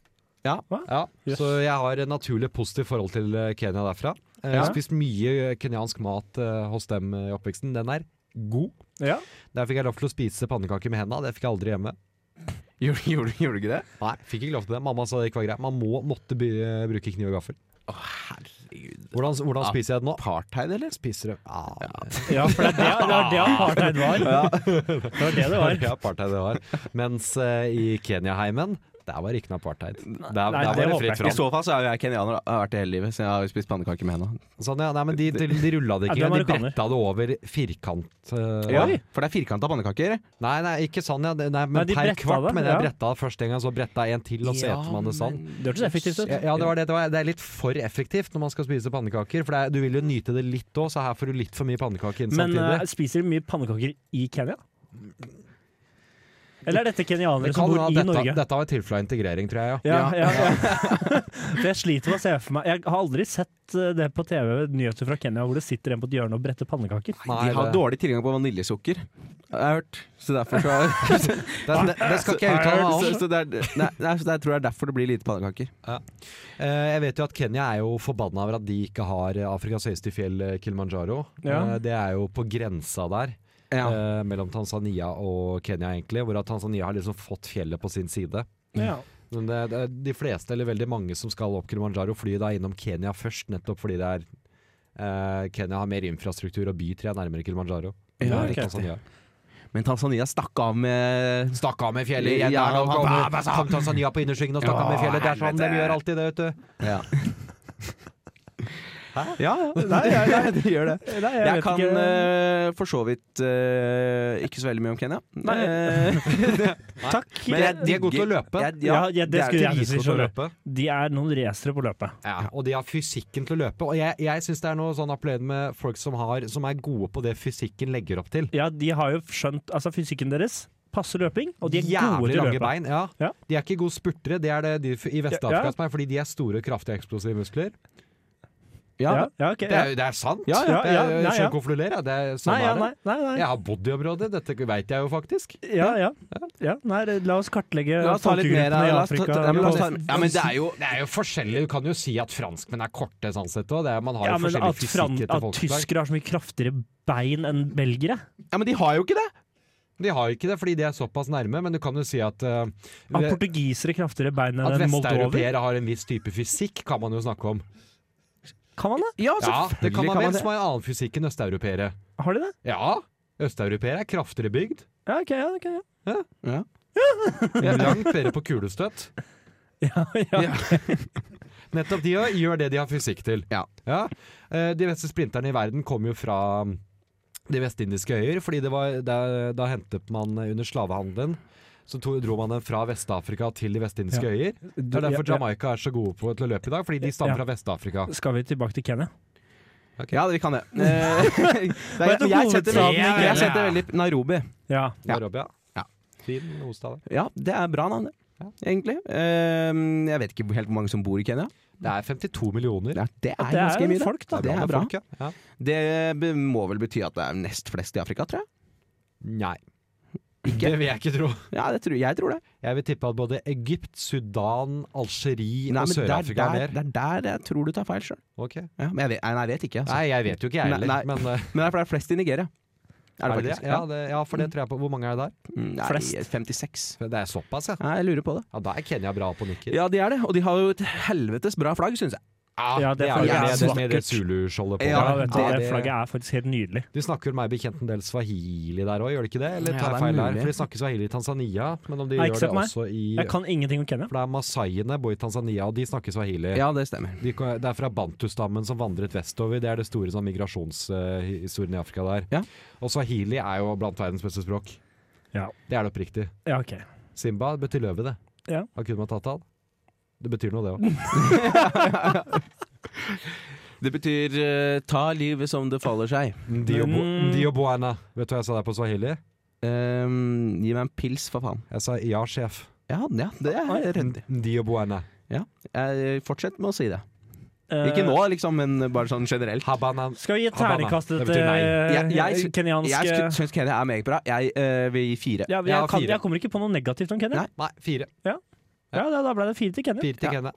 Ja. Hva? Jøss. Så jeg har et naturlig positivt forhold til eh, Kenya derfra. Eh, Jeg har Ja. spist mye kenyansk mat eh, hos dem eh, i oppveksten. Den er god. ja. Der fikk jeg lov til å spise pannekaker med hendene. Det fikk jeg aldri hjemme. Gjorde, gjorde, gjorde du ikke det? Nei, fikk ikke lov til det. Mamma sa det ikke var greit. Man må, måtte by, eh, bruke kniv og gaffel. Å, herregud. Hvordan, hvordan Ja. spiser jeg det nå? Apartheid, eller? Spiser det ah, Ja, for det var det, det, var det apartheid var. Det var det det var. Ja, apartheid (laughs) det var. Mens eh, i Kenya-heimen, der var ikke noe apartheid. Der, der nei, var det det håper jeg fritt ikke. fram. I så fall så er jo jeg kenyaner, da. Jeg har vært det hele livet, så jeg har jo spist pannekaker med henda. Sånn, ja, nei, men de, de, de rulla det ikke, Ja, det var de amerikaner. bretta det over firkant. eh, Ja, Oi. for det er firkanta pannekaker. Nei, nei, ikke sånn, ja. det- Nei, men Nei, de per bretta kvart. det, Men jeg ja. bretta først en gang, så bretta jeg en til, og så eter man det sånn. Det hørtes effektivt ut. Ja, ja, det var det. Det, var, det er litt for effektivt når man skal spise pannekaker. For det er, du vil jo nyte det litt òg, så her får du litt for mye pannekaker inn Men eh, samtidig. spiser de mye pannekaker i Kenya? Eller er dette kenyanere Det som kan sånn bor ha i dette, Norge? dette var et tilfelle av integrering, tror jeg. Ja. Ja, ja, ja. (laughs) For jeg sliter med å se for meg Jeg har aldri sett eh, det på TV, nyheter fra Kenya, hvor det sitter en på et hjørne og bretter pannekaker. Nei, de har det- dårlig tilgang på vaniljesukker, har jeg hørt. Så derfor så, (laughs) Det, det, det skal ikke jeg uttale meg om. så, så det er, nei, nei, så jeg tror det er derfor det blir lite pannekaker. Eh, Jeg vet jo at Kenya er jo forbanna over at de ikke har eh, Afrikas høyeste fjell, eh, Kilimanjaro. Ja. Eh, Det er jo på grensa der, Ja. eh, mellom Tanzania og Kenya egentlig. Hvor at Tanzania har liksom fått fjellet på sin side. Ja. Men det, det, er de fleste, eller veldig mange som skal opp Kilimanjaro, flyr da innom Kenya først. Nettopp fordi det er eh, Kenya har mer infrastruktur og bytre nærmere Kilimanjaro. Ja, Enn riktig. Tanzania. Men Tanzania stakk av med Stakk av med fjellet igjen! Ja, der, da han- kom, kom Tanzania på innersvingen og stakk av med Ja, fjellet! Det er sånn de helvete. gjør alltid det, vet du. Ja. Ja, ja. Nei, (laughs) det gjør det. Nei, jeg, Jeg, vet kan ikke. eh, for så vidt eh, ikke så veldig mye om Kenya. Nei. Eh, Takk. men jeg De er gode til å digger- løpe. jeg- Ja, ja, det er skulle jeg dritgodt si å selv. løpe. løpe. De er noen racere på løpet. Ja, og de har fysikken til å løpe. Og jeg, jeg syns det er noe sånn appellerende med folk som, har, som er gode på det fysikken legger opp til. Ja, de har jo skjønt Altså, fysikken deres passer løping, og de er gode Jævlig til å lange løpe. bein. Ja. Ja. De er ikke gode spurtere, det er det de f- i Ja, ja. Vest-Afrika som er, fordi de er store, kraftige, eksplosive muskler. Ja, Ja, ja, ok, Det ja. er, det er sant! Ja, ja, ja, Jeg- ja, Jeg ja. skjønner hvorfor du ler, jeg. Det er sånn Nei, ja, er nei, det. nei, nei. Jeg har bodd i området, dette veit jeg jo faktisk. Ja, ja. ja nei, la oss kartlegge La oss ta litt mer folkegruppene i la oss ta- Afrika. ja, men la oss ta- ja, men det er jo Det er jo forskjellig, du kan jo si at franskmenn er korte sånn sett òg. Man har Ja, jo men forskjellig at, fran fysikk etter at folkeslag. tyskere har så mye kraftigere bein enn belgere? Ja, men de har jo ikke det! De har jo ikke det fordi de er såpass nærme, men du kan jo si at eh, At det- portugisere kraftigere bein At enn en moldover? vesteuropeere har en viss type fysikk, kan man jo snakke om. Kan man det? Ja, altså. Ja, det kan man vel, det. som har en annen fysikk enn østeuropeere. Har de det? Ja, østeuropeere er kraftigere bygd. Ja, ok, ja, ok, ja. Ja. Langt bedre på kulestøtt. Ja, ja. (laughs) Nettopp de òg gjør det de har fysikk til. Ja. Eh, De beste sprinterne i verden kommer jo fra de vestindiske øyer, fordi det var, da, da hentet man under slavehandelen så to, dro man den fra Vest-Afrika til de vestindiske Ja. øyer. Det er Du- derfor ja, ja. Jamaica er så gode på til å løpe i dag, fordi de stammer Ja. fra Vest-Afrika. Skal vi tilbake til Kenya? Ja, vi kan det. Eh, (laughs) det er, greit, men jeg setter hovedstaden i veldig, Kenya? jeg setter veldig Nairobi. Ja. Ja. Nairobi, Ja. Fin hovedstad. det. Ja, det er bra navn, det. Egentlig. Eh, jeg vet ikke hvor- helt hvor mange som bor i Kenya. Det er 52 millioner. Ja, det er det er ganske mye. da. folk, da. Det er bra. folk, ja. Ja. Det be- må vel bety at det er nest flest i Afrika, tror jeg. Nei. Det vil jeg ikke tro. Ja, det tror, jeg tror det. Jeg vil tippe at både Egypt, Sudan, Algerie Nei, og men der, Sør-Afrika der, er mer. det er der jeg tror du tar feil sjøl. Ok. Ja, men jeg vet, nei, nei, jeg vet ikke. Altså. Nei, jeg vet jo ikke jeg Nei, heller, nei. men eh, Men det er, for det er flest i Nigeria. Er er det det, det? faktisk? Ja, det, ja, for det tror jeg på. Hvor mange er det der? Mm, Nei, Flest. 56. Det er såpass, ja. Nei, jeg lurer på det. Ja, Da er Kenya bra på nikker. Ja, de er det. Og de har jo et helvetes bra flagg, syns jeg. Ja, det Ah, det er flagget jo er med det, med det vakkert. Zulu-skjoldet på. Ja, Ja, vet du, det- det flagget er faktisk helt nydelig. De snakker meg bekjent en del swahili der òg, gjør de ikke det? Eller Ja, tar jeg det er feil der? mulig. For de snakker swahili i Tanzania, men om de Nei, ikke gjør sett det meg. også i Jeg kan ingenting om Kenya. For det er masaiene bor i Tanzania, og de snakker swahili. Ja, det stemmer. (laughs) De, ko- det er fra bantustammen som vandret vestover. Det er det store sånn, migrasjonshistorien i Afrika der. Ja. Og swahili er jo blant verdens beste språk. Ja. Det er det oppriktig. Ja, ok. Simba betyr løve, det. Ja. Hakuna Matata. Det betyr noe, det (laughs) òg. Det betyr eh, ta livet som det faller seg. Men- Ndio buana. Vet du hva jeg sa der på swahili? Ehm, gi meg en pils, for faen. Jeg sa ja, sjef. Ja, ja det er ryddig. Ndio buana. Jeg- Fortsett med å si det. Eh, Ikke nå, liksom, men bare sånn generelt. Habanan. Skal vi gi et Havana. terningkast til Det betyr nei. eh, Jeg- jeg- kenyanske Jeg syns Kenya er meget bra. Jeg eh, vil gi fire. ja, men jeg jeg, har kan, fire. jeg kommer ikke på noe negativt om Kenya. Nei. Nei, fire. Ja, da, da ble det fire til Kenya. Fire til Ja. Kenya.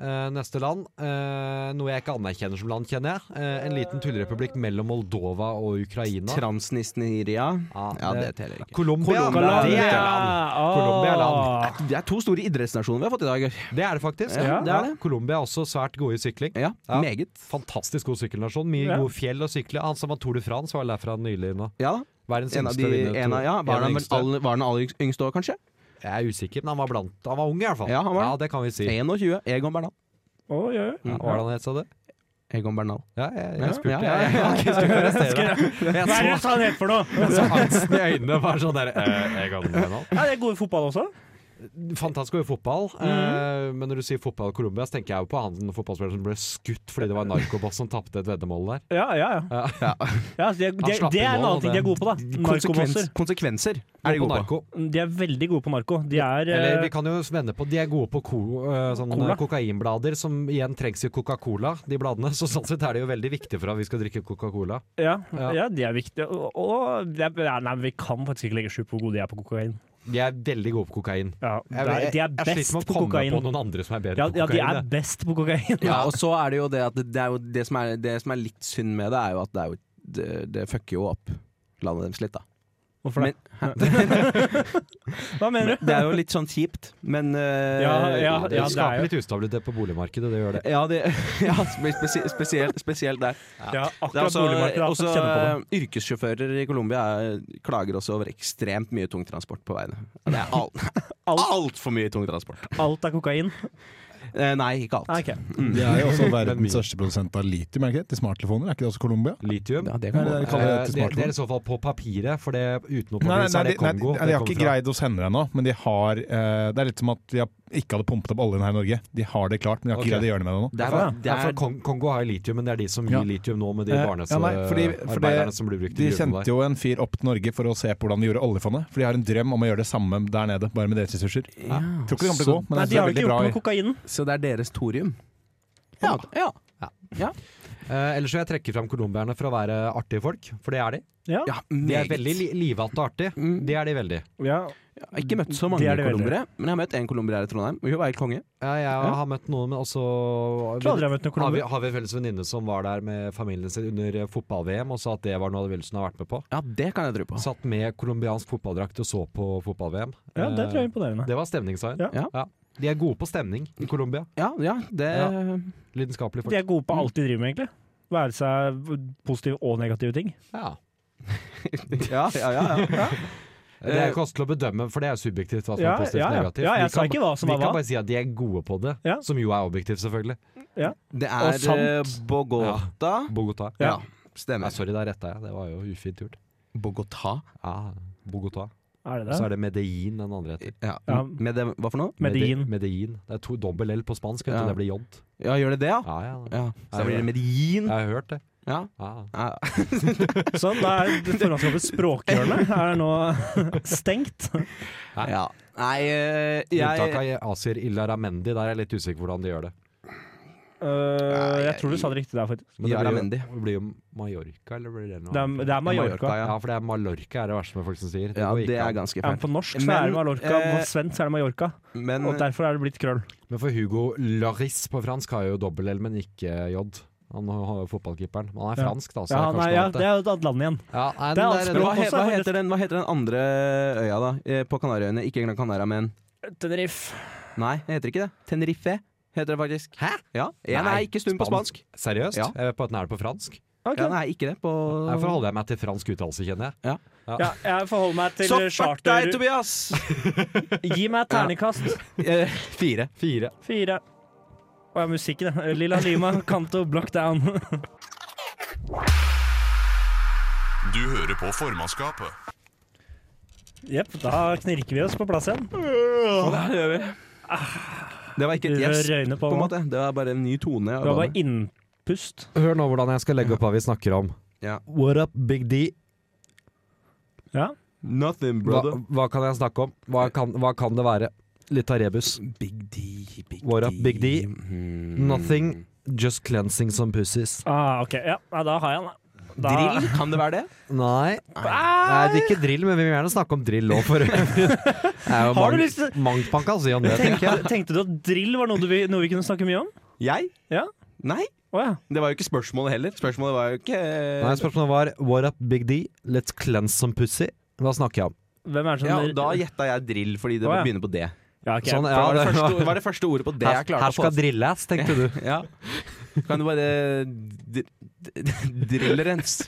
Eh, neste land, eh, noe jeg ikke anerkjenner som land, kjenner jeg. Eh, en liten tullrepublikk mellom Moldova og Ukraina. Transnisneria. Ja, Ja, det- det teller ikke. Colombia! Colombia. Det, er land. Ah. Colombia er land. Det er to store idrettsnasjoner vi har fått i dag. det er det faktisk. Ja, det er det. Colombia er også svært gode i sykling. Ja, Ja. meget. Fantastisk god sykkelnasjon. Mye Ja. gode fjell å sykle. Han som vant Tour de France, var vel derfra nylig nå. Ja, da. Verdens en av yngste de, vinner. en av, ja, var, En av han, de vel yngste. aller- var han aller yngst- yngste òg, kanskje? Jeg er usikker, men han var blant Han var ung, i hvert fall. Ja, han var det. det kan vi si. 21. Egon Bernal. Å, ja, ja. Ja, Mm. hva var det han het, sa du? Egon Bernal. Ja, jeg, Ja, jeg spurte. ja, ja, ja. Jeg, jeg, (laughs) (laughs) jeg, skulle arrestere deg. jeg, Hva er det du så, sa han het (laughs) for noe? jeg så angsten i øynene. Bare sånn der, eh, jeg kan den nå. Ja, det er gode i fotball også. Fantastisk god i fotball, Mhm. eh, men når du sier fotball i Colombia, så tenker jeg jo på han den fotballspilleren som ble skutt fordi det var en narkoboss som tapte et veddemål der. Ja, ja, ja. ja altså, de er- de, slapp det er inn en mål, annen ting de er gode på, da. Narkobosser. Konsekvens, konsekvenser er de På gode på. narko. De er veldig gode på narko. De er eh, Eller vi kan jo vende på De er gode på ko, eh, sånn, Cola. eh, kokainblader, som igjen trengs i Coca-Cola, de bladene. Så sånn sett er det jo veldig viktig for at vi skal drikke Coca-Cola. ja, Ja. ja, de er viktige. Og, og det er, nei, vi kan faktisk ikke legge skjul på hvor gode de er på kokain. De er veldig gode på kokain. Ja, Jeg, de er- jeg, de er jeg sliter best med å på komme kokain. på noen andre som er bedre Ja, på ja, de kokain. er jeg. best på kokain. (laughs) Ja, og så er det jo det at det er jo det som er, det som er litt synd med det, er jo at det, er jo, det, det fucker jo opp landet deres litt, da. Hvorfor det? (laughs) Hva mener du? Det er jo litt sånn kjipt, men eh, Ja, ja, Det ja, det er skaper jo litt ustabilitet på boligmarkedet, det gjør det. ja, det, (laughs) ja spe- spesi- spesielt, spesielt der. ja, Det er akkurat også, boligmarkedet. har fått også kjenne på det. yrkessjåfører i Colombia eh, klager også over ekstremt mye tungtransport på veiene. Det er al- altfor mye tungtransport. Alt er kokain. Eh, nei, ikke alt. Nei, ok. De er (laughs) jo også (laughs) Men mye. verdens største produsent av litium, er det ikke det? Til smarttelefoner, er ikke det også Colombia? Litium. Ja, det kan Nei, det gå. er- Eh, kaller det det, til det smartphone. er i så fall på papiret, for det utenom Nei, nei, papiret så nei, er det de- nei, Kongo. de- det de har kommer ikke fra. greid hos henne ennå, men de har eh, Det er litt som at de har, ikke hadde pumpet opp oljen her i Norge. De har det klart, men de har Ok. ikke greid å gjøre det med det nå. Det er, Ja, det for er, Kong Kongo har jo litium, men det er de som gir Ja. litium nå med de Eh, barnes ja, nei, fordi- for det- arbeiderne som blir brukt De i gruvene sendte der. jo en fyr opp til Norge for å se på hvordan de gjorde oljefondet. For de har en drøm om å gjøre det samme der nede, bare med deres ressurser. Tror ikke det kommer til å gå, men Nei, jeg de har jo synes det er ikke veldig bra. gjort noe i- kokainen. så det er deres thorium? Ja. ja. Eh, ellers vil jeg trekke fram colombierne for å være artige folk, for det er de. Ja, ja De er meget. veldig li livete og artige. Mm. Det er de veldig. ja. Jeg har ikke møtt så Det mange er det veldig. colombiere, men jeg har møtt en colombier her i Trondheim. og Hun var helt konge. Ja, jeg har møtt noen, men også Jeg tror aldri jeg har møtt noen har vi, kolumbier. har vi en felles venninne som var der med familien sin under eh, fotball-VM, og sa at det var noe av det villeste hun har vært med på. Ja, det kan jeg tro på. Satt med colombiansk fotballdrakt og så på fotball-VM. Ja, det tror jeg Eh, er imponerende. det var stemningssign. Ja. Ja. De er gode på stemning i Colombia. Ja, ja, det Ja. Lidenskapelige De folk. er gode på alt de driver med, egentlig. Være seg positive og negative ting. Ja. (laughs) Ja, ja, ja. ja. Det er ikke oss til å bedømme, for det er subjektivt hva som er Ja, Altså, positivt ja, og ja. negativt. Ja, jeg Vi sa kan- ikke hva som vi var hva. kan bare si at de er gode på det, Ja. som jo er objektivt, selvfølgelig. Det Og er sant. eh, Bogota. Bogotá. Ja. Ja. Nei, Stemmer. sorry, der retta jeg. Det var jo ufint gjort. Bogotá? Ja, Bogotá. Er Og det så det? er det Medellin den andre heter. Ja. Ja. Med det, hva for noe? Medellin. Mede- Medellin. Det er to dobbel L på spansk, vet du. Ja. Det blir jont. Ja, gjør det det, ja? Ja, ja. ja. Så Ja, da blir det Jeg Medellin? har hørt det. Ja. Ja. Ja. Sånn, da er det formannskapets språkhjørne er nå (laughs) stengt. (laughs) ja. Nei, eh, Unntak jeg av Asir Illaramendi, der er jeg litt usikker på hvordan de gjør det. Øh, jeg tror du sa det riktig der, faktisk. Men det blir Illaramendi. jo, det blir jo Mallorca, eller blir det noe Det er, annet? det er Mallorca. ja. ja. for det er Mallorca er det verste med folk som sier. Ja, går ikke det an. er ganske Ja, men fælt. på norsk så er det Men, Mallorca, eh, på svensk så er det Mallorca. Men Og derfor er det blitt krøll. Men for Hugo Laris på fransk har jo dobbel L, men ikke J. Han har jo fotballkeeperen. Men han er Ja. fransk, da. Så det er Ja, nei, kanskje ja, noe annet, det er jo et annet land igjen. Ja, nei, det er den alt der- språk hva, he, også hva, er heter den, hva heter den andre øya, da? Eh, På Kanariøyene? Ikke Gran Canaria, men Tenerife. Nei, det heter ikke det. Tenerife heter det faktisk. Hæ? Ja, En Nei, er ikke stum på spansk. spansk. Seriøst? Ja. Jeg vet på at den er det på fransk. Ja, nei, ikke det på Derfor holder jeg meg til fransk uttalelse, kjenner jeg. Ja, jeg forholder meg til Så fuck charter. deg, Tobias! Gi meg et ternekast. Eh, Fire. Fire. Fire. Å ja, musikken, ja. Lilla (laughs) Lima, Kanto, Block (laughs) Down. Du hører på formannskapet. Jepp, da knirker vi oss på plass igjen. det gjør vi. Det var ikke et Rør gjesp, øynene på på en meg. måte. Det var bare en ny tone. jeg Det var hadde. bare innpust. Hør nå hvordan jeg skal legge opp hva vi snakker om. Ja. What up, Big D? Ja. Nothing, Hva, hva kan jeg snakke om? Hva kan, hva kan det være? Litt av rebus. Big D, Big What up, Big D? Mm. Nothing. Just cleansing some pussies. Ah, ok. Ja, nei, da har jeg den. da. Da- Drill, kan det være det? Nei. Nei, det er ikke drill, men vi vil gjerne snakke om drill òg, for (laughs) øvrig. Har du lyst til- Mangt man kan si om det. Tenk, (laughs) tenkte du at drill var noe, du, vi- noe vi kunne snakke mye om? Jeg? Ja. Nei, Å ja. det var jo ikke spørsmålet heller. Spørsmålet var jo ikke Nei, spørsmålet var What up, Big D? Let's cleanse some pussy. Hva snakker jeg om? Hvem er det som Ja, og Da gjetta jeg drill, fordi det Å, ja. begynner på D. Ja, ok. Sånn, For ja, det, var det, det var- første, ord- var det første ordet på D Her, jeg klarte her skal å få. drilles, tenkte du. (laughs) Ja. Kan du bare dr- dr- drillrens?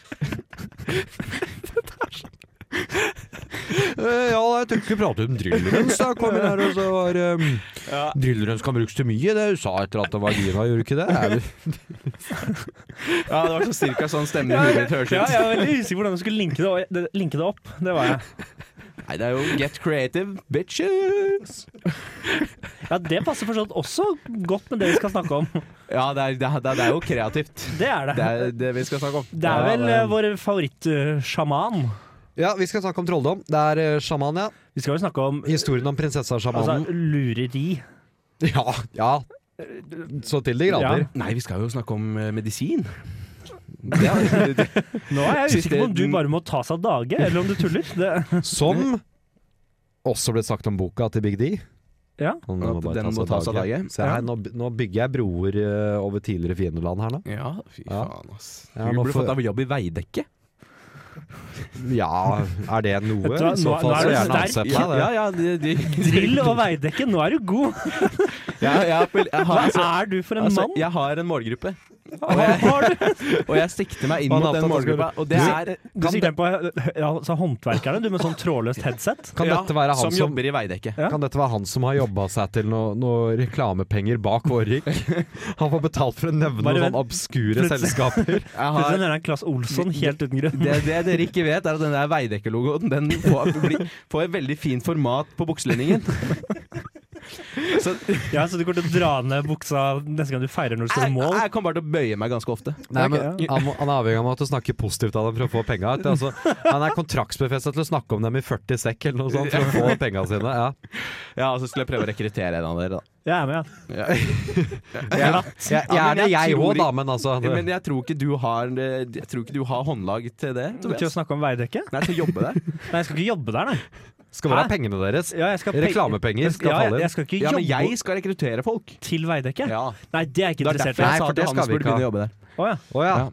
Eh, ja, jeg tenkte vi pratet om drillrens. Da kom inn her og så var um, Drillrens kan brukes til mye. Det sa etter at det var Gina, gjorde du ikke det? Er du- Ja, det var så cirka sånn stemmen i Ja, hodet jeg, mitt høres ja, ut. jeg var veldig usikker på hvordan du skulle linke det, og- det- linke det opp. Det var jeg. Nei, det er jo get creative, bitches! Ja, Det passer for så vidt også godt med det vi skal snakke om. Ja, det er, det er, det er jo kreativt. Det er det. Det er det vi skal snakke om. Det er vel Ja, eh, vår favorittsjaman. Ja, vi skal snakke om trolldom. Det er eh, sjaman, ja. Vi skal vel snakke om Historien om prinsessa altså, sjamanen. lureri. Altså- Ja, ja. Så til de grader. Nei, vi skal jo snakke om eh, medisin. Nå er jeg Synes usikker på om det- du bare må tas av dage, eller om du tuller. (laughs) Det, Som også ble sagt om boka til Big D. ja. Og At den må tas av dage. Se her, nå, nå bygger jeg broer eh, over tidligere fiendeland her nå. Ja, fy Ja. faen, ass. Ja, du nå burde får- fått deg jobb i Veidekke. Ja, er det noe? Vet du hva, I så nå- fall nå er så du gjerne sterk. ansett meg det. ja, ja, de, de, Drill og veidekke, nå er du god! ja, jeg, appell- jeg har, Hva altså, er du for en altså, mann? jeg har en målgruppe, Hva har du? og jeg sikter meg inn Han mot er opptatt den av målgruppa. Og det Du- er Du sikter på ja, altså, håndverkerne, du med sånn trådløst headset. Kan dette være han som, som, jobber i Veidekke. Ja. kan dette være han som har jobba seg til noe, noe reklamepenger bak Årrik? (laughs) Han får betalt for å nevne Bare noen vent. sånne obskure Plutselig. (laughs) selskaper. Jeg Plutselig har, nevner jeg Klass Olsson helt uten grunn. det, det dere ikke vet, er at den der Veidekke-logoen Den får, blir, får et veldig fint format på bukselinningen. Så jeg, (laughs) Ja, så du kommer til å dra ned buksa neste gang du feirer når du står i mål? jeg kommer bare til å bøye meg ganske ofte. Nei, men Ok, han, må- han er avhengig av at du snakker positivt av dem for å få penga. vet du. Altså, han er kontraktsbefestet til å snakke om dem i 40 sekk eller noe sånt for å (laughs) få penga sine. Ja. Ja, og så skulle jeg prøve å rekruttere en av dere, da. Jeg er med, ja. Ja. Jeg, jeg Ja, men er det, jeg jeg tror òg, da, ikke- men altså Men jeg tror ikke du har Jeg tror ikke du har håndlag til det, Til å Tobias. snakke om veidekke? Nei, til å jobbe der. Nei, jeg skal ikke jobbe der, nei. Skal bare Hæ? ha pengene deres. Ja, jeg skal pe- Reklamepenger skal ja, falle jeg, inn. jeg skal ikke Ja, jobbe men jeg skal rekruttere folk. til veidekke. Ja. Nei, det er jeg ikke Det er interessert derfor i. Nei, jeg sa for at det skal Hans vi burde ikke ha. begynne å jobbe der. Å ja. Å ja. Ja.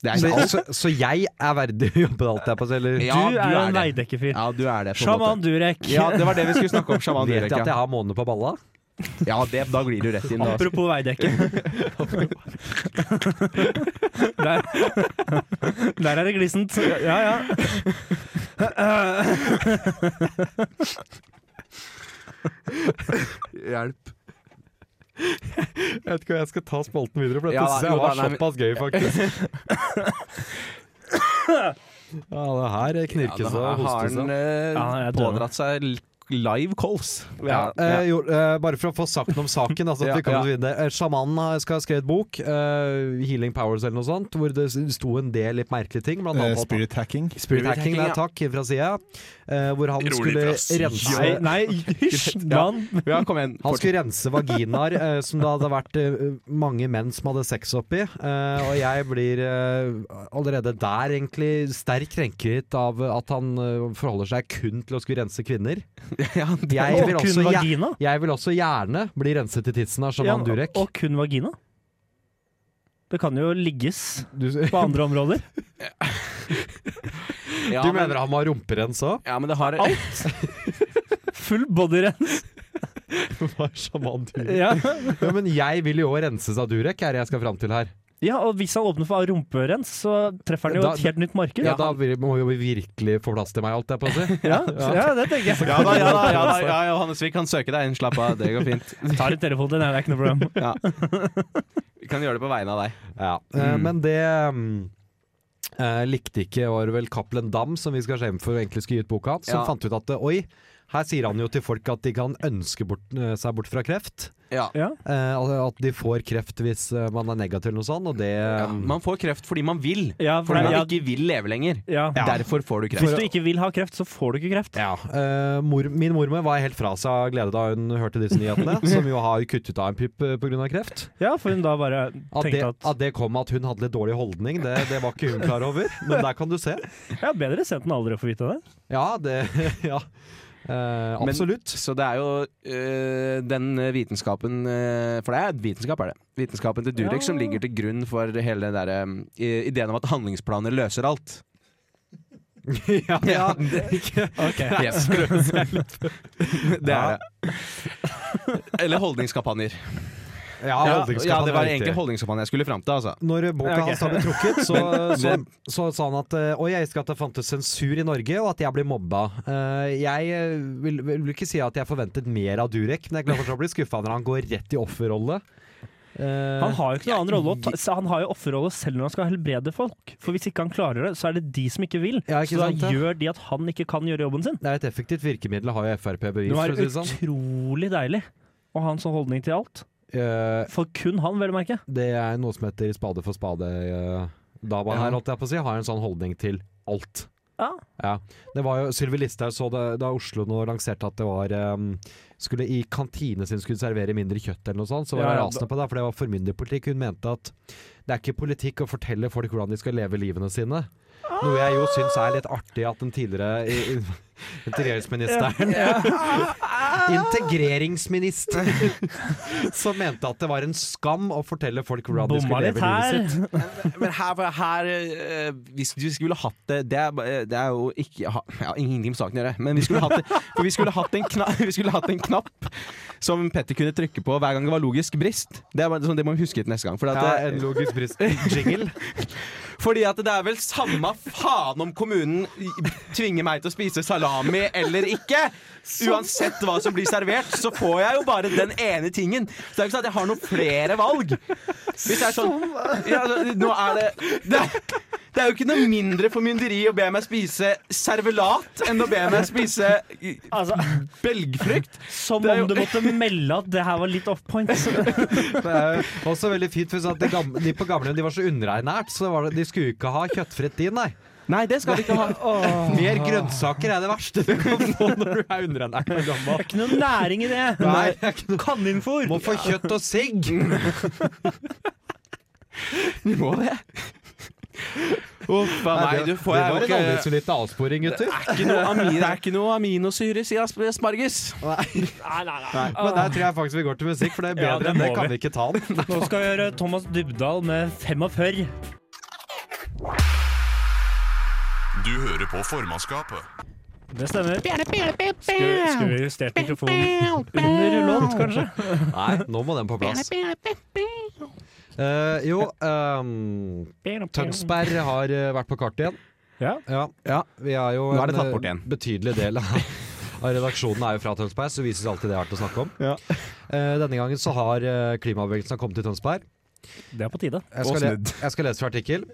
Det er Så, ikke alt. så, altså, så jeg er verdig å jobbe, alt jeg på å si? eller? Ja, Du du er er en det. veidekkefyr. Ja, du er det. på en Sjaman måte. Durek. Ja, det var det vi skulle snakke om. Sjaman Vet jeg Durek. at jeg Ja, har måne på balla? ja det, da glir du rett inn. Da. (laughs) Apropos veidekke. der, der er det glissent. Ja, ja. Hjelp. Jeg vet ikke om jeg skal ta spolten videre, for Ja, da, synes (laughs) jo da, nei, men- såpass gøy, faktisk. Ja, det her knirkes da og har hostes. han det. eh, Ja, jeg dømmer. pådratt seg l- live calls. Ja, eh, jo, eh, bare for å få sagt noe om saken. Altså, at Ja, vi kommer ja. oss videre. Eh, Sjamanen har- skal ha skrevet bok, eh, 'Healing Powers' eller noe sånt, hvor det s- sto en del litt merkelige ting. Blant Eh, annet at- spirit hacking. Spirit hacking, der, Hacking, takk, fra sida. eh, hvor han Rolig fra skulle sida. Nei, rense nei hysj! Ja. mann. Ja, kom igjen. han fortsett. skulle rense vaginaer eh, som det hadde vært eh, mange menn som hadde sex oppi. Eh, og jeg blir eh, allerede der egentlig sterkt krenket av at han eh, forholder seg kun til å skulle rense kvinner. Ja, det- Jeg Og vil kun også, jeg, vagina. jeg vil også gjerne bli renset i tissen av sjaman Ja, Durek. Og kun vagina. Det kan jo ligges Du, på andre områder. ja, du men- mener han må ha rumperens (laughs) òg? Ja, men det har Full bodyrens. Ja. Ja, men jeg vil jo òg renses av Durek, er det jeg skal fram til her. ja, og hvis han åpner for rumperens, så treffer han jo Da- et helt nytt marked. Ja, da vil- må jo vi virkelig få plass til meg, holdt jeg på å si. Ja, ja, det tenker jeg. Ja da, ja da, ja da ja, Johannes, vi kan søke deg inn. Slapp av, det går fint. Jeg tar en telefon til den, det er ikke noe problem. Ja. Vi kan gjøre det på vegne av deg. Ja, eh, men det mm, eh, likte ikke Orwell Cappelen Dam, som vi skal skjemme for og egentlig skulle gi ut boka hans, som Ja. fant ut at eh, oi, her sier han jo til folk at de kan ønske bort, eh, seg bort fra kreft. Ja. Ja. eh, At at de får kreft hvis eh, man er negativ eller noe sånt, og det mm, Um, Man får kreft fordi man vil. Ja, Fordi for det- man ja, ikke vil leve lenger. ja. Derfor får du Hvis kreft. du ikke vil ha kreft, så får du ikke kreft. Ja. eh, mor, min mormor var helt fra seg av glede da hun hørte disse nyhetene, som jo har kuttet av en pupp pga. kreft. Ja, for hun da bare At det, tenkte at at det kom at hun hadde litt dårlig holdning, det, det var ikke hun klar over. Men der kan du se. Ja, bedre sent enn aldri å få vite det. Ja, det (laughs) Ja. Eh, Men- absolutt. Så det er jo øh, den vitenskapen øh, For det er vitenskap, er det. Vitenskapen til Durek Ja. som ligger til grunn for hele den derre øh, ideen om at handlingsplaner løser alt. ja, ja. Yes, prøve seg litt. (laughs) Det er det. Eller holdningskampanjer. ja, Ja, holdningskamp ja, han det er var riktig. egentlig holdningskampanjer jeg skulle fram til, altså. Når boka Ja, ok. hans da ble trukket, så, (laughs) så, så sa han at eh, Oi, jeg husker at det fantes sensur i Norge, og at jeg ble mobba. Eh, jeg eh, vil, vil vil ikke si at jeg forventet mer av Durek, men jeg er glad for å bli skuffa når han går rett i offerrolle. Eh, Han har jo ikke noen annen rolle å ta, så han har jo offerrolle selv når han skal helbrede folk. For hvis ikke han klarer det, så er det de som ikke vil. Ja, ikke så da sant, ja. gjør de at han ikke kan gjøre jobben sin. det er et effektivt virkemiddel, har jo Frp Det bevis var for. å si det sånn. utrolig deilig å ha en sånn holdning til alt. Eh, For kun han, vel å merke. det er noe som heter spade for spade. eh, Dama Ja. her, holdt jeg på å si, har en sånn holdning til alt. Ja. Ja. Det var jo Sylvi Listhaug så det da Oslo nå lanserte at det var ehm, Skulle i kantine sin skulle servere mindre kjøtt eller noe sånt, så var Ja, hun ja, rasende på det, for det var formynderpolitikk. Hun mente at det er ikke politikk å fortelle folk hvordan de skal leve livene sine. Noe jeg jo syns er litt artig at den tidligere i- i- integreringsministeren (laughs) Integreringsministeren! (laughs) Som mente at det var en skam å fortelle folk hvordan de Bomma skulle litt leve livet her. sitt. Men her, her øh, Hvis du skulle hatt det Det er, eh, det er jo ikke ha- ja, Ingenting med saken å gjøre, men vi skulle hatt, det, for vi skulle hatt, en, kna, vi skulle hatt en knapp som Petter kunne trykke på hver gang det var logisk brist. Det, er, bare sånn, det må vi huske til neste gang. Fordi Ja, at, eh, en det, logisk (laughs) brist. Jingle. fordi at det er vel samme faen om kommunen tvinger meg til å spise salami eller ikke. Uansett hva som blir servert, så får jeg jo bare den ene tingen. Så det er jo ikke sånn at jeg har noen flere valg. Hvis det er sånn ja, altså, Nå er det det er, det er jo ikke noe mindre formynderi å be meg spise servelat enn å be meg spise i- Altså, belgfrukt. (laughs) som Det er jo- om du måtte melde at det her var litt off point. Det er jo også veldig fint, for sånn at de, gamle, de på gamlehjem de var så underernært, så var det, de skulle jo ikke ha kjøttfritt din, nei. Nei, det skal vi ikke ha. Mer grønnsaker er det verste du kan få når du er underernært og gammel. Ikke noe næring i det. Nei, det er ikke noe. Kaninfôr. Må få kjøtt og sigg! Vi må det. Uff a meg. Du får det var jeg jo en aldri ikke så liten avsporing, gutter. Det er ikke noe ami- det er ikke noe aminosyres i asp- asparges. Nei, nei, nei. Men der tror jeg faktisk vi går til musikk, for det er Ja, bedre det enn det må kan vi. vi ikke ta. den. Nå skal vi gjøre Thomas Dybdahl med 45. Du hører på formannskapet. Det stemmer. Skulle skulle justert mikrofonen under låt, kanskje? Nei, nå må den på plass. Eh, jo, ehm, Tønsberg har eh, vært på kartet igjen. Ja. Ja, vi er jo Nå er det en, tatt bort eh, igjen. betydelig del av, av redaksjonen er jo fra Tønsberg, så vises alltid det er verdt å snakke om. Eh, denne gangen så har eh, klimabevegelsen kommet til Tønsberg. Det er på tide. Jeg Og skal, le snudd. jeg skal lese fra artikkel.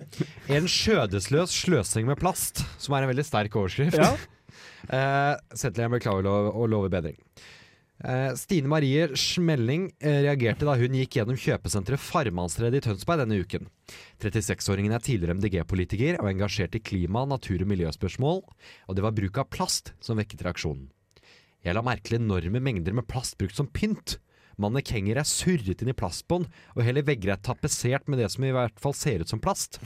En skjødesløs sløsing med plast, som er en veldig sterk overskrift. Ja. (laughs) Eh, Settelien beklager lo og lover bedring. Eh, Stine Marie Schmelling eh, reagerte da hun gikk gjennom kjøpesenteret Farmannstredet i Tønsberg denne uken. 36-åringen er tidligere MDG-politiker og engasjert i klima-, natur- og miljøspørsmål, og det var bruk av plast som vekket reaksjonen. Jeg la merke til enorme mengder med plast brukt som pynt. Mannekenger er surret inn i plastbånd, og hele vegger er tapetsert med det som i hvert fall ser ut som plast.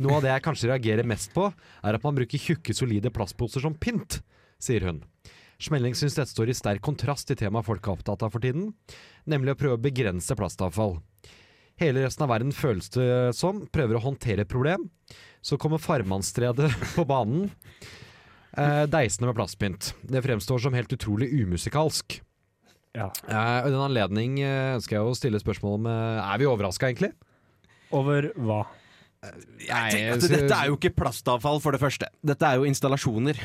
Noe av det jeg kanskje reagerer mest på, er at man bruker tjukke, solide plastposer som pynt, sier hun. Schmelling syns dette står i sterk kontrast til temaet folk er opptatt av for tiden, nemlig å prøve å begrense plastavfall. Hele resten av verden føles det som prøver å håndtere et problem. Så kommer farmannsstredet (laughs) på banen, eh, deisende med plastpynt. Det fremstår som helt utrolig umusikalsk. Ja. Eh, og I den anledning eh, ønsker jeg å stille spørsmål om eh, Er vi overraska, egentlig? Over hva? Nei, Jeg tenker at jeg synes- dette er jo ikke plastavfall, for det første. Dette er jo installasjoner.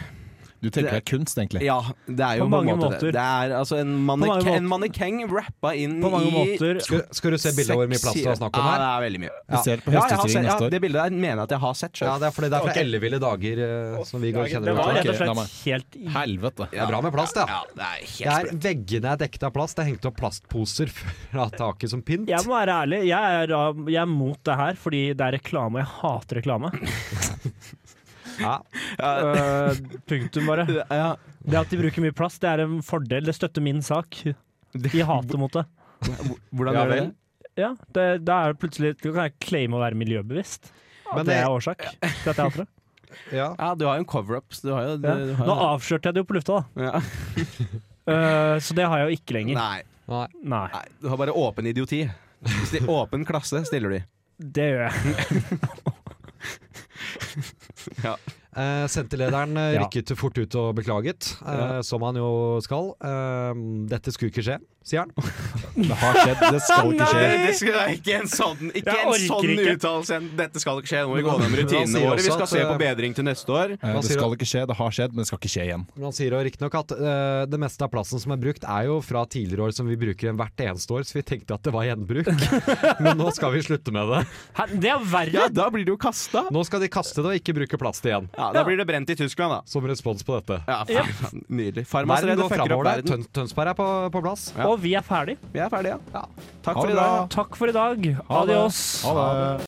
Du tenker det er kunst, egentlig. Ja, det er jo på På en mange måte det. måter. Det er altså en mange manneke- måter. en mannekeng rappa inn i På mange måter Skal, skal du se bildet av hvor mye plast det er snakk om Ja, her? det er veldig mye. Vi ser på Ja, jeg har Høstutstillingen sett, ja, neste år. det bildet der mener jeg at jeg har sett Ja, sjøl. det er fordi det er fra elleville dager eh, som vi går og kjenner Det var ut. rett og Ok, la meg- slett helt i- Helvete. Det er bra med plast, ja. Ja, det er Det helt er veggene er dekket av plast. Det er hengt opp plastposer (laughs) fra taket som pynt. Jeg må være ærlig, jeg er, da- jeg er mot det her fordi det er reklame, og jeg hater reklame. Ja. Øh, punktum, bare. sprø- ja. Det at de bruker mye plast, det er en fordel. Det støtter min sak. De hater mot det. Hvordan Ja gjør det? vel. Ja, det, Da er det plutselig Da kan jeg claime å være miljøbevisst. At Men det det- er årsak til at jeg hater det. Ja. Ja, du har jo en cover-up. så Du har jo, du, Ja. du Nå har jo avslørte jeg det jo på lufta, da. ja. Øh, så det har jeg jo ikke lenger. Nei, Nei. Nei, nei, du har bare åpen idioti. Sti- Åpen klasse stiller de. det gjør jeg. Eh, senterlederen eh, Ja. rykket fort ut og beklaget, eh, som han jo skal. Eh, dette skulle ikke skje, sier han. Det har skjedd, (laughs) det skal ikke skje. Det skal det er ikke en sånn, ikke Jeg en orker sånn ikke. uttalelse. Dette skal ikke skje. Nå må vi gå Men gjennom han rutinene sier våre. Vi også skal at, se på eh, bedring til neste år. Eh, Hva Det sier skal ikke skje, det har skjedd, men det skal ikke skje igjen. Men han sier jo riktignok at eh, det meste av plassen som er brukt, er jo fra tidligere år som vi bruker en hvert eneste år, så vi tenkte at det var (laughs) gjenbruk. Men nå skal vi slutte med det. Hæ, det er verre! Ja, da blir det jo kasta. Nå skal de kaste det og ikke bruke plast igjen, Ja, da blir det brent i Tyskland, da. som respons på dette. Ja, faen, faen, Nydelig. Verden Farmasredet går fucker opp framover der. verden. Tøn Tønsberg er på, på plass. Ja. Og vi er ferdig. Vi er ferdige, ja. Takk Ha for det i dag. bra. ja. Takk for i dag. Adios. Ha det.